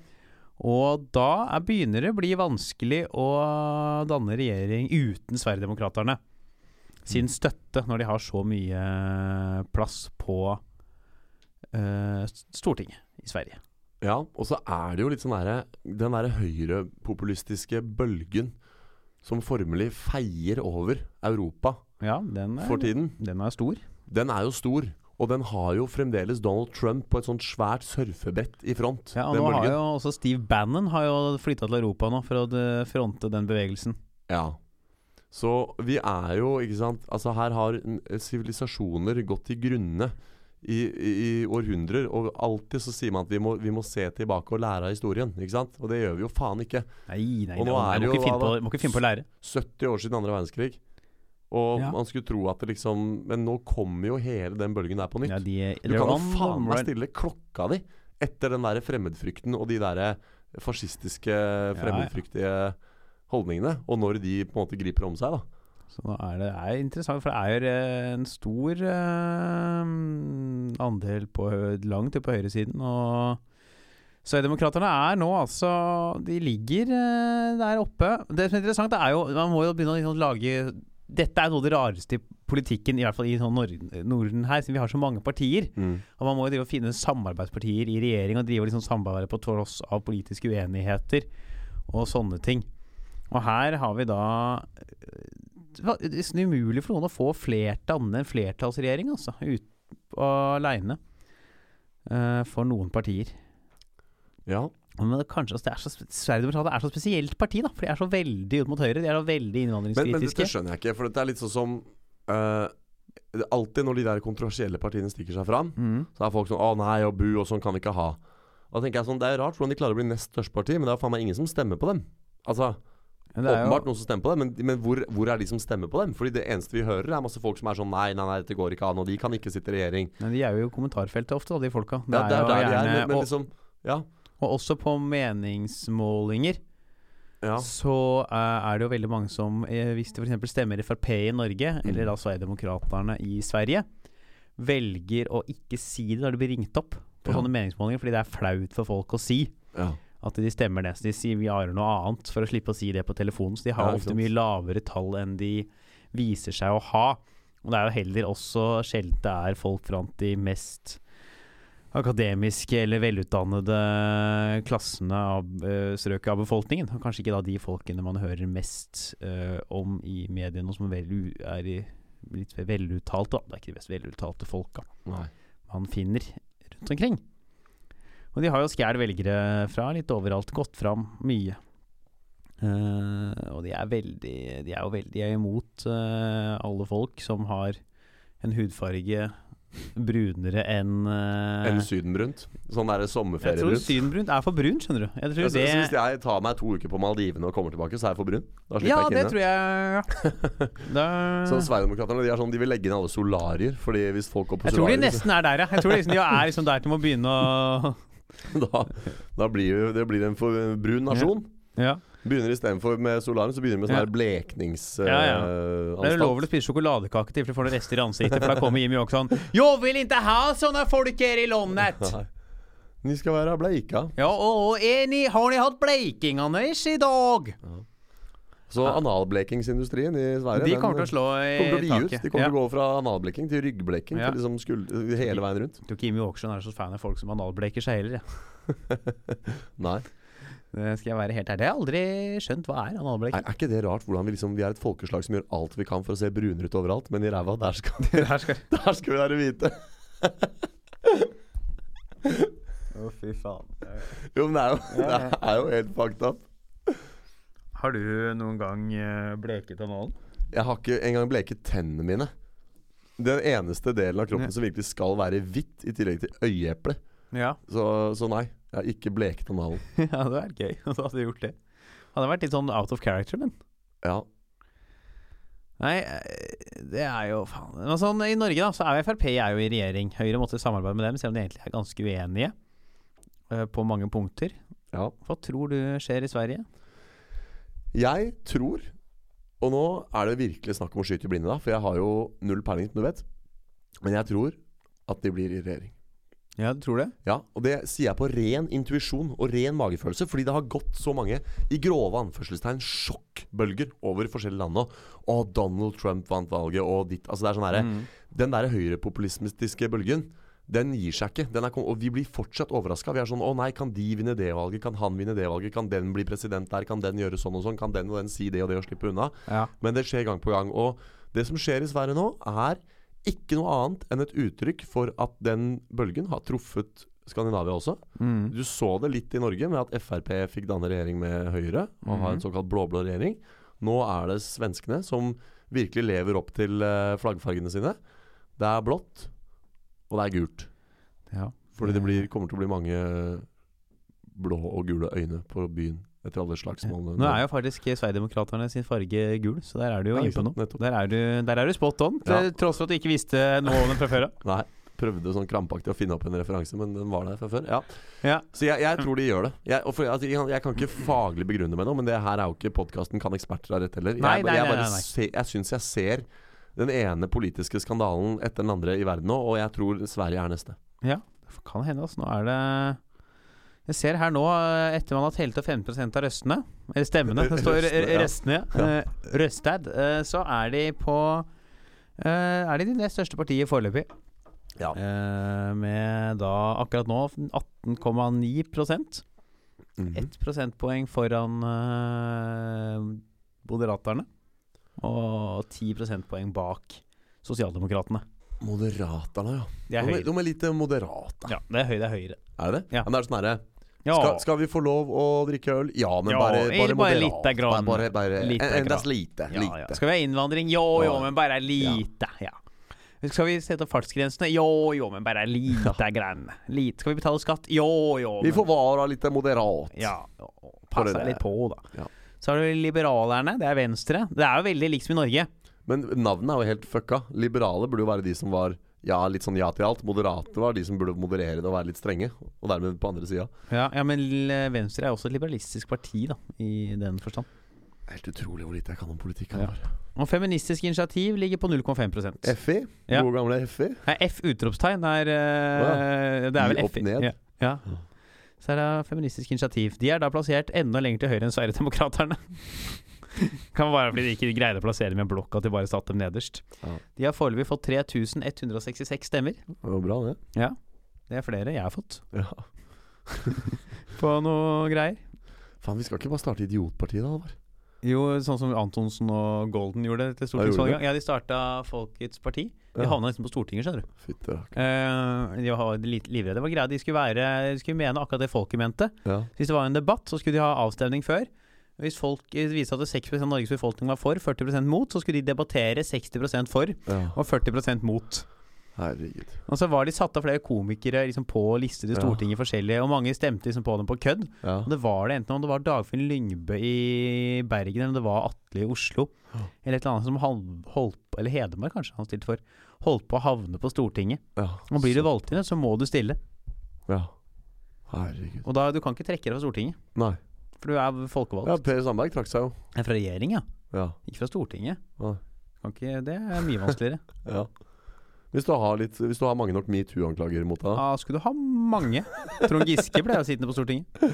[SPEAKER 2] Og da er, begynner det å bli vanskelig å danne regjering uten Sverigedemokraterne sin
[SPEAKER 3] Mm.
[SPEAKER 2] støtte, når de har så mye plass på eh, Stortinget i Sverige.
[SPEAKER 3] Ja, og så er det jo litt sånn derre Den derre høyrepopulistiske bølgen som formelig feier over Europa
[SPEAKER 2] Ja, den er,
[SPEAKER 3] for tiden.
[SPEAKER 2] den er stor.
[SPEAKER 3] Den er jo stor, og den har jo fremdeles Donald Trump på et sånt svært surfebrett i front.
[SPEAKER 2] Ja, og
[SPEAKER 3] den
[SPEAKER 2] nå har
[SPEAKER 3] bølgen.
[SPEAKER 2] jo også Steve Bannon har jo flytta til Europa nå for å eh, fronte den bevegelsen.
[SPEAKER 3] Ja. Så vi er jo, ikke sant Altså her har n- sivilisasjoner gått til grunne i, i, i århundrer. Og alltid så sier man at vi må, vi må se tilbake og lære av historien. Ikke sant? Og det gjør vi jo faen ikke.
[SPEAKER 2] Nei, nei,
[SPEAKER 3] Og nå
[SPEAKER 2] nei,
[SPEAKER 3] er
[SPEAKER 2] nei, må
[SPEAKER 3] det
[SPEAKER 2] ikke
[SPEAKER 3] jo
[SPEAKER 2] finne på,
[SPEAKER 3] hva da?
[SPEAKER 2] må ikke finne på å lære.
[SPEAKER 3] 70 år siden andre verdenskrig. Og
[SPEAKER 2] Ja.
[SPEAKER 3] man skulle tro at det liksom Men nå kommer jo hele den bølgen der på nytt.
[SPEAKER 2] Ja, de,
[SPEAKER 3] du kan jo
[SPEAKER 2] they're on the
[SPEAKER 3] faen meg
[SPEAKER 2] run.
[SPEAKER 3] stille klokka di etter den der fremmedfrykten og de derre fascistiske, fremmedfryktige holdningene. Og når de på en måte griper om seg, da.
[SPEAKER 2] Så nå er det, det er interessant, for det er jo eh, en stor eh, andel på, hø- langt oppe på høyresiden. Og Sverigedemokraterna er nå altså De ligger eh, der oppe. Det som er interessant, det er jo Man må jo begynne å liksom lage dette er noe av det rareste i politikken, i hvert fall i sånn Nor Norden her, siden vi har så mange partier.
[SPEAKER 3] Mm.
[SPEAKER 2] Og man må jo drive og finne samarbeidspartier i regjering og drive og liksom samarbeide på tross av politiske uenigheter og sånne ting. Og her har vi da eh, Det var nesten umulig for noen å få flertall, danne en flertallsregjering, altså. Ut aleine. eh, for noen partier.
[SPEAKER 3] Ja.
[SPEAKER 2] Men det, er kanskje, altså, det er så, spe- Sverigedemokraterna er så spesielt parti, da. For de er så veldig ut mot høyre. De er så veldig
[SPEAKER 3] Men, men dette
[SPEAKER 2] innvandringskritiske.
[SPEAKER 3] skjønner jeg ikke, for dette er litt sånn som eh, det er Alltid når de der kontroversielle partiene stikker seg fram,
[SPEAKER 2] mm.
[SPEAKER 3] så er folk sånn 'Å nei, og bu, og sånn kan vi ikke ha'. Og da tenker jeg sånn, Det er rart hvordan de klarer å bli nest største parti, men det er faen meg ingen som stemmer på dem. Altså,
[SPEAKER 2] Men det er jo-
[SPEAKER 3] Åpenbart noen som stemmer på dem, men, men hvor, hvor er de som stemmer på dem? Fordi det eneste vi hører, er masse folk som er sånn 'Nei, nei, nei, dette går ikke an', og de kan ikke sitte i regjering.
[SPEAKER 2] Men de er jo i kommentarfeltet ofte, da, de folka. Det
[SPEAKER 3] Ja, det er
[SPEAKER 2] jo
[SPEAKER 3] der de er,
[SPEAKER 2] gjerne-
[SPEAKER 3] men, men
[SPEAKER 2] og-
[SPEAKER 3] liksom Ja.
[SPEAKER 2] Og også på meningsmålinger
[SPEAKER 3] ja.
[SPEAKER 2] så eh, er det jo veldig mange som eh, hvis de f.eks. stemmer Frp i Norge,
[SPEAKER 3] Mm.
[SPEAKER 2] eller da Sverigedemokraterna i Sverige, velger å ikke si det når de blir ringt opp på
[SPEAKER 3] Ja.
[SPEAKER 2] sånne meningsmålinger, fordi det er flaut for folk å si
[SPEAKER 3] ja.
[SPEAKER 2] at de stemmer det. Så de sier vi har noe annet, for å slippe å si det på telefonen. Så de har
[SPEAKER 3] Ja, ikke
[SPEAKER 2] ofte
[SPEAKER 3] sant.
[SPEAKER 2] mye lavere tall enn de viser seg å ha. Og det er jo heller også sjelden det er folk blant de mest akademiske eller velutdannede klassene av eh, strøket av befolkningen. Og kanskje ikke da de folkene man hører mest eh, om i mediene, og som vel, er i, litt veluttalte. Da. Det er ikke de mest veluttalte folka
[SPEAKER 3] Nei.
[SPEAKER 2] man finner rundt omkring. Og de har jo skjær velgere fra litt overalt, gått fram mye. Eh, og de er veldig De er jo veldig de er imot eh, alle folk som har en hudfarge brunere enn eh,
[SPEAKER 3] Eller sydenbrunt. Sånn derre
[SPEAKER 2] Jeg tror
[SPEAKER 3] sommerferiebrunt.
[SPEAKER 2] synbrunt er for brunt, skjønner du. Jeg tror
[SPEAKER 3] Jeg
[SPEAKER 2] det,
[SPEAKER 3] synes- hvis jeg tar meg to uker på Maldivene og kommer tilbake, så er jeg for brun. Da slipper
[SPEAKER 2] ja,
[SPEAKER 3] jeg ikke
[SPEAKER 2] det
[SPEAKER 3] inn. igjen.
[SPEAKER 2] tror jeg
[SPEAKER 3] [laughs]
[SPEAKER 2] da,
[SPEAKER 3] Så Sverigedemokraterne de er sånn, de vil legge inn alle solarier. Fordi hvis folk går på
[SPEAKER 2] Jeg tror de
[SPEAKER 3] solarier,
[SPEAKER 2] nesten er der, ja. Jeg tror liksom de er liksom der til å begynne
[SPEAKER 3] [laughs]
[SPEAKER 2] å
[SPEAKER 3] så- da, da blir jo- det blir en for brun nasjon.
[SPEAKER 2] ja.
[SPEAKER 3] Begynner istedenfor med solarium, så begynner de med sånn
[SPEAKER 2] Ja.
[SPEAKER 3] her eh, blekningsanstalt.
[SPEAKER 2] Ja, ja. Det er lov å spise sjokoladekake til for du får noen rester i ansiktet, for da kommer Jimmy Åkesson. Jeg vil ikke ha sånne folk her i landet!
[SPEAKER 3] De skal være bleika.
[SPEAKER 2] Ja, og, og er ni, har ni hatt bleikingene deres i dag?
[SPEAKER 3] Så analblekingsindustrien i Sverige
[SPEAKER 2] De
[SPEAKER 3] den, eh,
[SPEAKER 2] kommer til å slå i
[SPEAKER 3] kommer til å bli ut.
[SPEAKER 2] taket.
[SPEAKER 3] De kommer
[SPEAKER 2] Ja.
[SPEAKER 3] til å gå fra analbleking til ryggbleking
[SPEAKER 2] Ja.
[SPEAKER 3] til liksom skuld- hele veien rundt.
[SPEAKER 2] Jeg tror ikke Jimmy Åkesson er så fan av folk som analbleker seg heller. jeg.
[SPEAKER 3] Nei.
[SPEAKER 2] Det skal jeg være helt ærlig. Jeg har aldri skjønt hva er
[SPEAKER 3] Er,
[SPEAKER 2] analbleking.
[SPEAKER 3] er ikke det rart? hvordan Vi liksom Vi er et folkeslag som gjør alt vi kan for å se brunere ut overalt, men i ræva, der skal, [laughs]
[SPEAKER 2] Her skal
[SPEAKER 3] der skal vi være hvite.
[SPEAKER 2] Å, fy faen.
[SPEAKER 3] Jo, men det er jo, det er jo helt fucked up.
[SPEAKER 2] Har du noen gang eh, bleket analen?
[SPEAKER 3] Jeg har ikke engang bleket tennene mine. Den eneste delen av kroppen
[SPEAKER 2] Ja.
[SPEAKER 3] som virkelig skal være hvitt, i tillegg til øyeeple.
[SPEAKER 2] Ja. [laughs]
[SPEAKER 3] Så, så nei, jeg har ikke bleket analen.
[SPEAKER 2] ja, det hadde vært gøy [laughs] om du hadde gjort det. Hadde vært litt sånn out of character, men.
[SPEAKER 3] Ja.
[SPEAKER 2] Nei, eh, det er jo faen Men sånn, I Norge da, så er jo Frp er jo i regjering. Høyre måtte samarbeide med dem, selv om de egentlig er ganske uenige eh, på mange punkter.
[SPEAKER 3] ja.
[SPEAKER 2] Hva tror du skjer i Sverige?
[SPEAKER 3] Jeg tror Og nå er det virkelig snakk om å skyte i blinde, da, for jeg har jo null peiling, som du vet. Men jeg tror at de blir i regjering.
[SPEAKER 2] Ja, du tror det?
[SPEAKER 3] Ja, Og det sier jeg på ren intuisjon og ren magefølelse, fordi det har gått så mange i grove anførselstegn sjokkbølger over forskjellige land nå. Å, Donald Trump vant valget, og ditt Altså, det er sånn herre Den der høyrepopulistiske bølgen, den gir seg ikke. Den er, kom- og vi blir fortsatt overraska. Vi er sånn Å nei, kan de vinne det valget? Kan han vinne det valget? Kan den bli president der? Kan den gjøre sånn og sånn? Kan den og den si det og det og slippe unna?
[SPEAKER 2] Ja.
[SPEAKER 3] Men det skjer gang på gang. Og det som skjer i Sverige nå, er ikke noe annet enn et uttrykk for at den bølgen har truffet Skandinavia også.
[SPEAKER 2] Mm.
[SPEAKER 3] Du så det litt i Norge med at Frp fikk danne regjering med Høyre og ha en
[SPEAKER 2] Mhm.
[SPEAKER 3] såkalt blå-blå regjering. Nå er det svenskene som virkelig lever opp til eh, flaggfargene sine. Det er blått, og det er gult.
[SPEAKER 2] ja.
[SPEAKER 3] Fordi det blir, kommer til å bli mange blå og gule øyne på byen etter alle slagsmålene.
[SPEAKER 2] Nå er jo faktisk Sverigedemokraterne sin farge gul, så der er du jo
[SPEAKER 3] Ja, ikke
[SPEAKER 2] inne på
[SPEAKER 3] sant,
[SPEAKER 2] noe.
[SPEAKER 3] nettopp.
[SPEAKER 2] Der er, du, der er du spot on,
[SPEAKER 3] Ja.
[SPEAKER 2] til tross for at du ikke visste noe om den fra før av.
[SPEAKER 3] Nei, prøvde sånn krampaktig å finne opp en referanse, men den var der fra før. Ja.
[SPEAKER 2] Ja.
[SPEAKER 3] Så jeg, jeg tror de gjør det. Jeg, og for, altså, jeg, jeg kan ikke faglig begrunne med noe, men det her er jo ikke podkasten Kan eksperter ha rett heller.
[SPEAKER 2] Nei,
[SPEAKER 3] jeg
[SPEAKER 2] nei,
[SPEAKER 3] jeg,
[SPEAKER 2] nei,
[SPEAKER 3] bare
[SPEAKER 2] nei, nei.
[SPEAKER 3] se- jeg syns jeg ser den ene politiske skandalen etter den andre i verden nå, og jeg tror Sverige er neste.
[SPEAKER 2] Kan hende, altså. Nå er det Jeg ser her nå, eh, etter man har telt opp 15 av røstene Eller stemmene, det står
[SPEAKER 3] Røstene,
[SPEAKER 2] røstene,
[SPEAKER 3] ja.
[SPEAKER 2] restene, ja. Eh, Røstad. eh, Så er de på eh, Er de det nest største partiet foreløpig.
[SPEAKER 3] Ja.
[SPEAKER 2] Eh, Med da akkurat nå 18,9
[SPEAKER 3] Mhm.
[SPEAKER 2] Ett prosentpoeng foran uh, Moderaterne. Og ti prosentpoeng bak Sosialdemokratene.
[SPEAKER 3] Moderaterne, ja.
[SPEAKER 2] Det er
[SPEAKER 3] De er-
[SPEAKER 2] høyere.
[SPEAKER 3] de er litt moderate.
[SPEAKER 2] Ja, det er høy, det er høyere.
[SPEAKER 3] Er det det?
[SPEAKER 2] Ja.
[SPEAKER 3] Men det er sånn herre
[SPEAKER 2] Ja,
[SPEAKER 3] skal, skal vi få lov å drikke øl? Ja, men
[SPEAKER 2] Ja,
[SPEAKER 3] bare,
[SPEAKER 2] eller
[SPEAKER 3] bare,
[SPEAKER 2] bare
[SPEAKER 3] moderat.
[SPEAKER 2] lite grann.
[SPEAKER 3] Bare, bare,
[SPEAKER 2] Lite
[SPEAKER 3] en,
[SPEAKER 2] grann.
[SPEAKER 3] en dass lite.
[SPEAKER 2] ja,
[SPEAKER 3] lite.
[SPEAKER 2] ja. Skal vi ha innvandring? Jo, jo,
[SPEAKER 3] Ja.
[SPEAKER 2] men bare lite. Ja. Skal vi sette opp fartsgrensene? Jo, jo, men bare lite
[SPEAKER 3] [laughs]
[SPEAKER 2] grann. Lite. Skal vi betale skatt? Jo, jo.
[SPEAKER 3] Vi
[SPEAKER 2] men-
[SPEAKER 3] får være litt eh, moderat.
[SPEAKER 2] Ja, og
[SPEAKER 3] Bare
[SPEAKER 2] pass deg
[SPEAKER 3] det.
[SPEAKER 2] litt på, da.
[SPEAKER 3] Ja.
[SPEAKER 2] Så har du liberalerne, det er Venstre. Det er jo veldig likt som i Norge.
[SPEAKER 3] Men navnet er jo helt fucka. Liberale burde jo være de som var ja, litt sånn ja til alt. Moderate var de som burde moderere det og være litt strenge. Og dermed på andre sida.
[SPEAKER 2] Ja, ja, men l- Venstre er også et liberalistisk parti, da, i den forstand.
[SPEAKER 3] Helt utrolig hvor lite jeg kan om politikk.
[SPEAKER 2] Ja. Og Feministisk initiativ ligger på 0,5
[SPEAKER 3] Effi.
[SPEAKER 2] Ja.
[SPEAKER 3] Gode gamle Effi.
[SPEAKER 2] Nei, F utropstegn er eh, Det er
[SPEAKER 3] I
[SPEAKER 2] vel
[SPEAKER 3] opp
[SPEAKER 2] F.
[SPEAKER 3] ned.
[SPEAKER 2] Ja. ja. Så er det Feministisk initiativ. De er da plassert enda lenger til høyre enn Sverigedemokraterne. [laughs] kan være fordi de ikke greide å plassere dem i en blokk, at de bare satte dem nederst.
[SPEAKER 3] Ja.
[SPEAKER 2] De har foreløpig fått 3166 stemmer.
[SPEAKER 3] Det var bra, det.
[SPEAKER 2] Det er flere jeg har fått
[SPEAKER 3] Ja.
[SPEAKER 2] på noe greier.
[SPEAKER 3] Faen, vi skal ikke bare starte Idiotpartiet, da, Halvor?
[SPEAKER 2] Jo, sånn som Antonsen og Golden gjorde til
[SPEAKER 3] gjorde
[SPEAKER 2] stortingsvalget.
[SPEAKER 3] de?
[SPEAKER 2] Ja, de starta Folkets parti. De havna nesten på Stortinget, skjønner du.
[SPEAKER 3] Fytte rakk.
[SPEAKER 2] Eh, de var litt livredde. Det var greia, de skulle, være, de skulle mene akkurat det folket mente.
[SPEAKER 3] Ja.
[SPEAKER 2] Hvis det var en debatt, så skulle de ha avstemning før. Hvis folk eh, viste at 6 av Norges befolkning var for, 40 mot, så skulle de debattere 60 for
[SPEAKER 3] ja.
[SPEAKER 2] og 40 mot.
[SPEAKER 3] Herregud.
[SPEAKER 2] Og så var de satt av flere komikere liksom, på lister i
[SPEAKER 3] Ja.
[SPEAKER 2] Stortinget forskjellige, og mange stemte liksom, på dem på kødd.
[SPEAKER 3] Ja.
[SPEAKER 2] Og det var det enten om det var Dagfinn Lyngbø i Bergen, eller om det var Atle i Oslo,
[SPEAKER 3] Ja.
[SPEAKER 2] eller et eller annet som hal- holdt på Eller Hedmark, kanskje, han stilte for. Holdt på å havne på Stortinget.
[SPEAKER 3] ja.
[SPEAKER 2] Og blir du valgt inn, så må du stille.
[SPEAKER 3] Ja. Herregud.
[SPEAKER 2] Og da, du kan ikke trekke deg fra Stortinget,
[SPEAKER 3] Nei.
[SPEAKER 2] for du er folkevalgt.
[SPEAKER 3] Ja, Per Sandberg trakk seg jo.
[SPEAKER 2] Er Fra regjering, ja.
[SPEAKER 3] Ja.
[SPEAKER 2] Ikke fra Stortinget.
[SPEAKER 3] Nei.
[SPEAKER 2] Kan ikke, det er mye
[SPEAKER 3] [laughs]
[SPEAKER 2] vanskeligere.
[SPEAKER 3] ja. Hvis du har, litt, hvis du har mange nok metoo-anklager mot deg, da.
[SPEAKER 2] Ah, skulle du ha mange? Trond Giske ble jo sittende på Stortinget.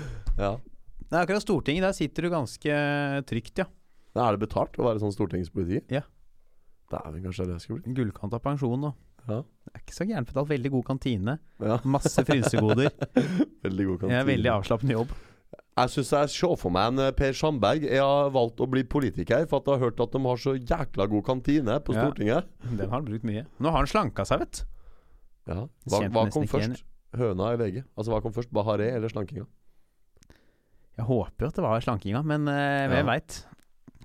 [SPEAKER 3] Ja.
[SPEAKER 2] Nei, akkurat Stortinget, der sitter du ganske trygt, ja.
[SPEAKER 3] Men Er det betalt å være sånn stortingspoliti?
[SPEAKER 2] Ja.
[SPEAKER 3] Dæven, kanskje det er det jeg skulle bli.
[SPEAKER 2] Gullkant av pensjon og
[SPEAKER 3] Ja.
[SPEAKER 2] Det er ikke så gærent betalt. Veldig god kantine.
[SPEAKER 3] Ja,
[SPEAKER 2] Masse
[SPEAKER 3] [laughs]
[SPEAKER 2] frynsegoder.
[SPEAKER 3] Veldig god
[SPEAKER 2] Jeg er
[SPEAKER 3] kantine.
[SPEAKER 2] veldig avslappende jobb.
[SPEAKER 3] Jeg syns jeg ser for meg en eh, Per Sandberg. Jeg har valgt å bli politiker, for at jeg har hørt at de har så jækla god kantine på
[SPEAKER 2] Ja.
[SPEAKER 3] Stortinget.
[SPEAKER 2] Den har han brukt mye. Nå har han slanka seg, vet du.
[SPEAKER 3] Ja. Hva,
[SPEAKER 2] Kjente
[SPEAKER 3] hva
[SPEAKER 2] nesten
[SPEAKER 3] kom
[SPEAKER 2] ikke igjen.
[SPEAKER 3] først? Høna eller egget? Altså, hva kom først? Bahareh eller slankinga?
[SPEAKER 2] Jeg håper jo at det var slankinga, men eh, hvem
[SPEAKER 3] Ja.
[SPEAKER 2] veit.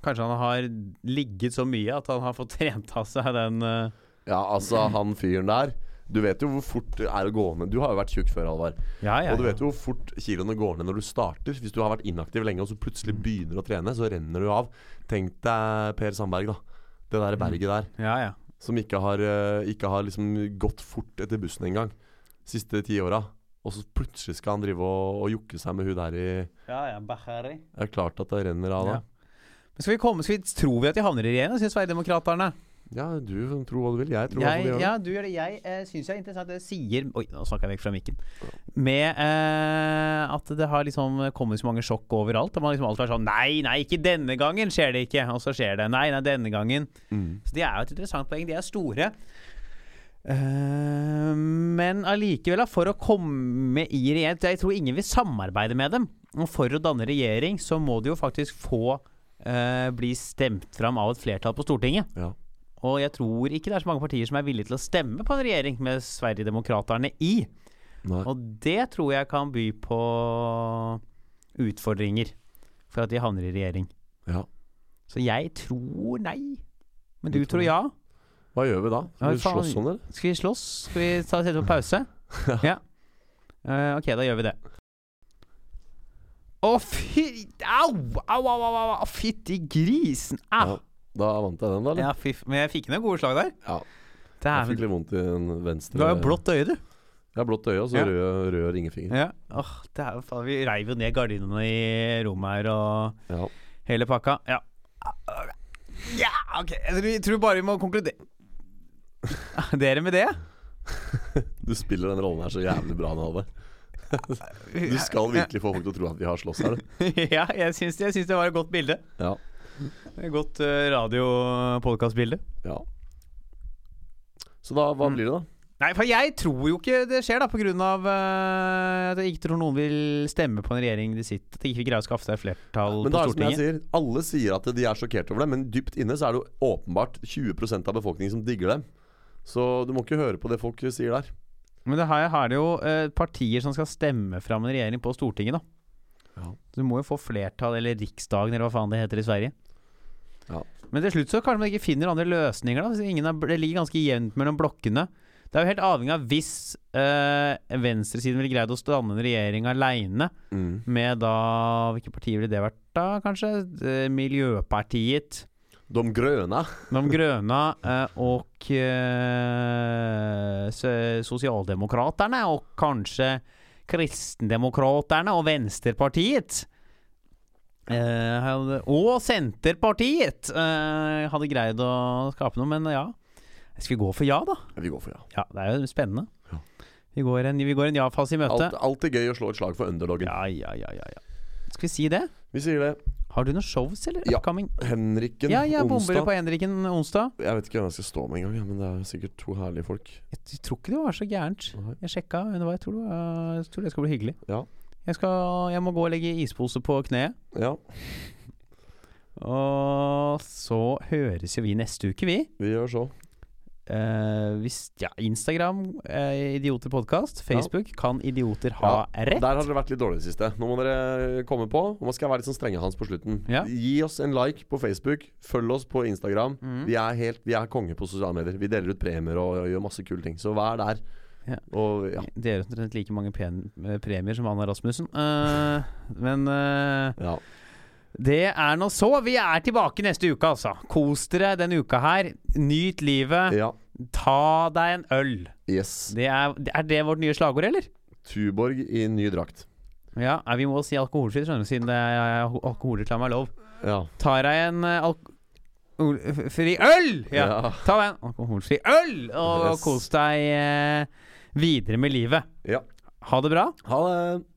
[SPEAKER 2] Kanskje han har ligget så mye at han har fått [laughs] trent av seg den eh,
[SPEAKER 3] Ja, altså, han fyren der Du vet jo hvor fort det er å gå ned. Du har jo vært tjukk før, Halvard.
[SPEAKER 2] Ja, ja.
[SPEAKER 3] Og du
[SPEAKER 2] ja.
[SPEAKER 3] vet jo hvor fort kiloene går ned når du starter. Hvis du har vært inaktiv lenge og så plutselig
[SPEAKER 2] Mm.
[SPEAKER 3] begynner å trene, så renner du av. Tenk deg Per Sandberg, da. Det
[SPEAKER 2] Mm.
[SPEAKER 3] der berget der.
[SPEAKER 2] ja, ja.
[SPEAKER 3] Som ikke har, eh, ikke har liksom gått fort etter bussen engang. Siste ti åra. Og så plutselig skal han drive og, og jukke seg med hun der i
[SPEAKER 2] ja, ja. Bahari.
[SPEAKER 3] Det er klart at det renner av, da.
[SPEAKER 2] Men skal vi komme, skal vi, tror vi at de havner i regjering, sier Sverigedemokraterne.
[SPEAKER 3] Ja, du tror hva du vil. Jeg tror hva
[SPEAKER 2] Jeg,
[SPEAKER 3] du vil.
[SPEAKER 2] ja, du gjør det. Jeg eh, syns det er interessant det sier Oi, nå snakka jeg vekk fra mikken. Med eh, at det har liksom kommet så mange sjokk overalt. Og man liksom alltid er sånn Nei, nei, ikke denne gangen skjer det ikke. Og så skjer det. Nei, nei, denne gangen.
[SPEAKER 3] Mm.
[SPEAKER 2] Så de er jo et interessant poeng. De er store. Eh, men allikevel, da, for å komme i regjering Jeg tror ingen vil samarbeide med dem. Og for å danne regjering, så må de jo faktisk få eh, bli stemt fram av et flertall på Stortinget.
[SPEAKER 3] Ja.
[SPEAKER 2] Og jeg tror ikke det er så mange partier som er villige til å stemme på en regjering med Sverigedemokraterne i.
[SPEAKER 3] Nei.
[SPEAKER 2] Og det tror jeg kan by på utfordringer for at de havner i regjering.
[SPEAKER 3] Ja.
[SPEAKER 2] Så jeg tror nei. Men
[SPEAKER 3] Du
[SPEAKER 2] du
[SPEAKER 3] tror
[SPEAKER 2] tror
[SPEAKER 3] nei.
[SPEAKER 2] ja?
[SPEAKER 3] Hva gjør vi da?
[SPEAKER 2] Ja,
[SPEAKER 3] Skal vi
[SPEAKER 2] faen.
[SPEAKER 3] slåss om det? eller?
[SPEAKER 2] Skal vi slåss? Skal vi ta sette på
[SPEAKER 3] [laughs]
[SPEAKER 2] pause? ja. Eh, ok, da gjør vi det. Å, fy Au! Au, au, au! au, au Fytti grisen! Au!
[SPEAKER 3] Ja. Da vant jeg den, da.
[SPEAKER 2] Ja,
[SPEAKER 3] Eller?
[SPEAKER 2] fy f... Men jeg fikk inn en gode slag der.
[SPEAKER 3] Ja. Jeg fikk
[SPEAKER 2] Dæven.
[SPEAKER 3] litt eh, vondt i den venstre
[SPEAKER 2] Du har jo blått øye, du.
[SPEAKER 3] Jeg har blått øye og så
[SPEAKER 2] Ja.
[SPEAKER 3] rød, rød ringefinger.
[SPEAKER 2] Ja. Åh, det er jo faen, vi reiv jo ned gardinene i rommet her og
[SPEAKER 3] Ja.
[SPEAKER 2] hele pakka. Ja, ja ok. Jeg tror, jeg tror bare vi må konkludere
[SPEAKER 3] [laughs]
[SPEAKER 2] Dere med det?
[SPEAKER 3] Du spiller den rollen her så jævlig bra nå, Halvard. Du skal virkelig få folk til å tro at vi har slåss her. du.
[SPEAKER 2] [laughs] ja, jeg syns, jeg syns det var et godt bilde.
[SPEAKER 3] Ja.
[SPEAKER 2] Et godt uh, radio-podkast-bilde.
[SPEAKER 3] ja. Så da, hva
[SPEAKER 2] Mm.
[SPEAKER 3] blir det, da?
[SPEAKER 2] Nei, for jeg tror jo ikke det skjer, da, på grunn av eh, at jeg ikke tror noen vil stemme på en regjering de sitter At de ikke greier å skaffe seg flertall på
[SPEAKER 3] Men da er det som jeg
[SPEAKER 2] Stortinget.
[SPEAKER 3] sier, Alle sier at de er sjokkert over det, men dypt inne så er det jo åpenbart 20 av befolkningen som digger dem. Så du må ikke høre på det folk sier der.
[SPEAKER 2] Men det her, her er det jo eh, partier som skal stemme fram en regjering på Stortinget, da.
[SPEAKER 3] Ja.
[SPEAKER 2] Så du må jo få flertall, eller Riksdagen, eller hva faen det heter i Sverige.
[SPEAKER 3] Ja.
[SPEAKER 2] Men til slutt så kanskje man ikke finner andre løsninger, da. hvis Ingen er, det ligger ganske jevnt mellom blokkene. Det er jo helt avhengig av hvis eh, venstresiden ville greid å danne en regjering aleine. Med da Hvilke partier ville det vært da, kanskje? Eh, Miljøpartiet,
[SPEAKER 3] De grønne.
[SPEAKER 2] De grønne eh, og eh, s- Sosialdemokraterne. Og kanskje Kristendemokraterne og Venstrepartiet. Eh, hadde- og Senterpartiet eh, hadde greid å skape noe, men ja. Skal vi gå for ja, da?
[SPEAKER 3] Vi går for ja.
[SPEAKER 2] Ja, Det er jo spennende.
[SPEAKER 3] Ja.
[SPEAKER 2] Vi går en, vi går en ja-fase i møte.
[SPEAKER 3] Alt, alltid gøy å slå et slag for underdogen.
[SPEAKER 2] Ja, ja, ja, ja, ja. Skal vi si det?
[SPEAKER 3] Vi sier det.
[SPEAKER 2] Har du noen shows, eller?
[SPEAKER 3] Ja.
[SPEAKER 2] Upcoming?
[SPEAKER 3] Henrikken
[SPEAKER 2] Ja, jeg bomber
[SPEAKER 3] onsdag.
[SPEAKER 2] på Henriken onsdag.
[SPEAKER 3] Jeg vet ikke hvem jeg skal stå med engang, ja, men det er sikkert to herlige folk.
[SPEAKER 2] Jeg tror ikke det var så gærent.
[SPEAKER 3] Nei.
[SPEAKER 2] Jeg sjekka underveis. Jeg tror det var- jeg tror det skal bli hyggelig.
[SPEAKER 3] Ja.
[SPEAKER 2] Jeg, skal, jeg må gå og legge ispose på kneet.
[SPEAKER 3] Ja,
[SPEAKER 2] Og så høres jo vi neste uke, vi.
[SPEAKER 3] vi gjør så.
[SPEAKER 2] Eh, hvis ja, Instagram, eh, Idioter podkast. Facebook, Kan idioter ha rett?
[SPEAKER 3] Der har dere vært litt dårlige i det siste. Nå må dere eh, komme på. Nå skal jeg være litt sånn strenge hans på slutten.
[SPEAKER 2] Ja.
[SPEAKER 3] Gi oss en like på Facebook. Følg oss på Instagram.
[SPEAKER 2] Mm.
[SPEAKER 3] Vi er helt, vi er konge på sosiale medier. Vi deler ut premier og, gjør masse kule ting. Så vær der.
[SPEAKER 2] Ja.
[SPEAKER 3] Og ja.
[SPEAKER 2] Dere har omtrent like mange pen, eh, premier som Anna Rasmussen. Eh, men eh,
[SPEAKER 3] ja.
[SPEAKER 2] Det er nå så. Vi er tilbake neste uke, altså. Kos dere denne uka her. Nyt livet.
[SPEAKER 3] ja.
[SPEAKER 2] Ta deg en øl.
[SPEAKER 3] Yes.
[SPEAKER 2] Det er, er det vårt nye slagord, eller?
[SPEAKER 3] Tuborg i ny drakt.
[SPEAKER 2] Ja, nei, vi må si alkoholfritt, skjønner du, siden det er er alko- alkoholreklame er lov.
[SPEAKER 3] Ja.
[SPEAKER 2] Ta deg en eh, alkoholfri øl! Ja.
[SPEAKER 3] Ja.
[SPEAKER 2] Ta deg en alkoholfri øl, og
[SPEAKER 3] Yes.
[SPEAKER 2] kos deg eh, videre med livet.
[SPEAKER 3] ja.
[SPEAKER 2] Ha det bra.
[SPEAKER 3] Ha det.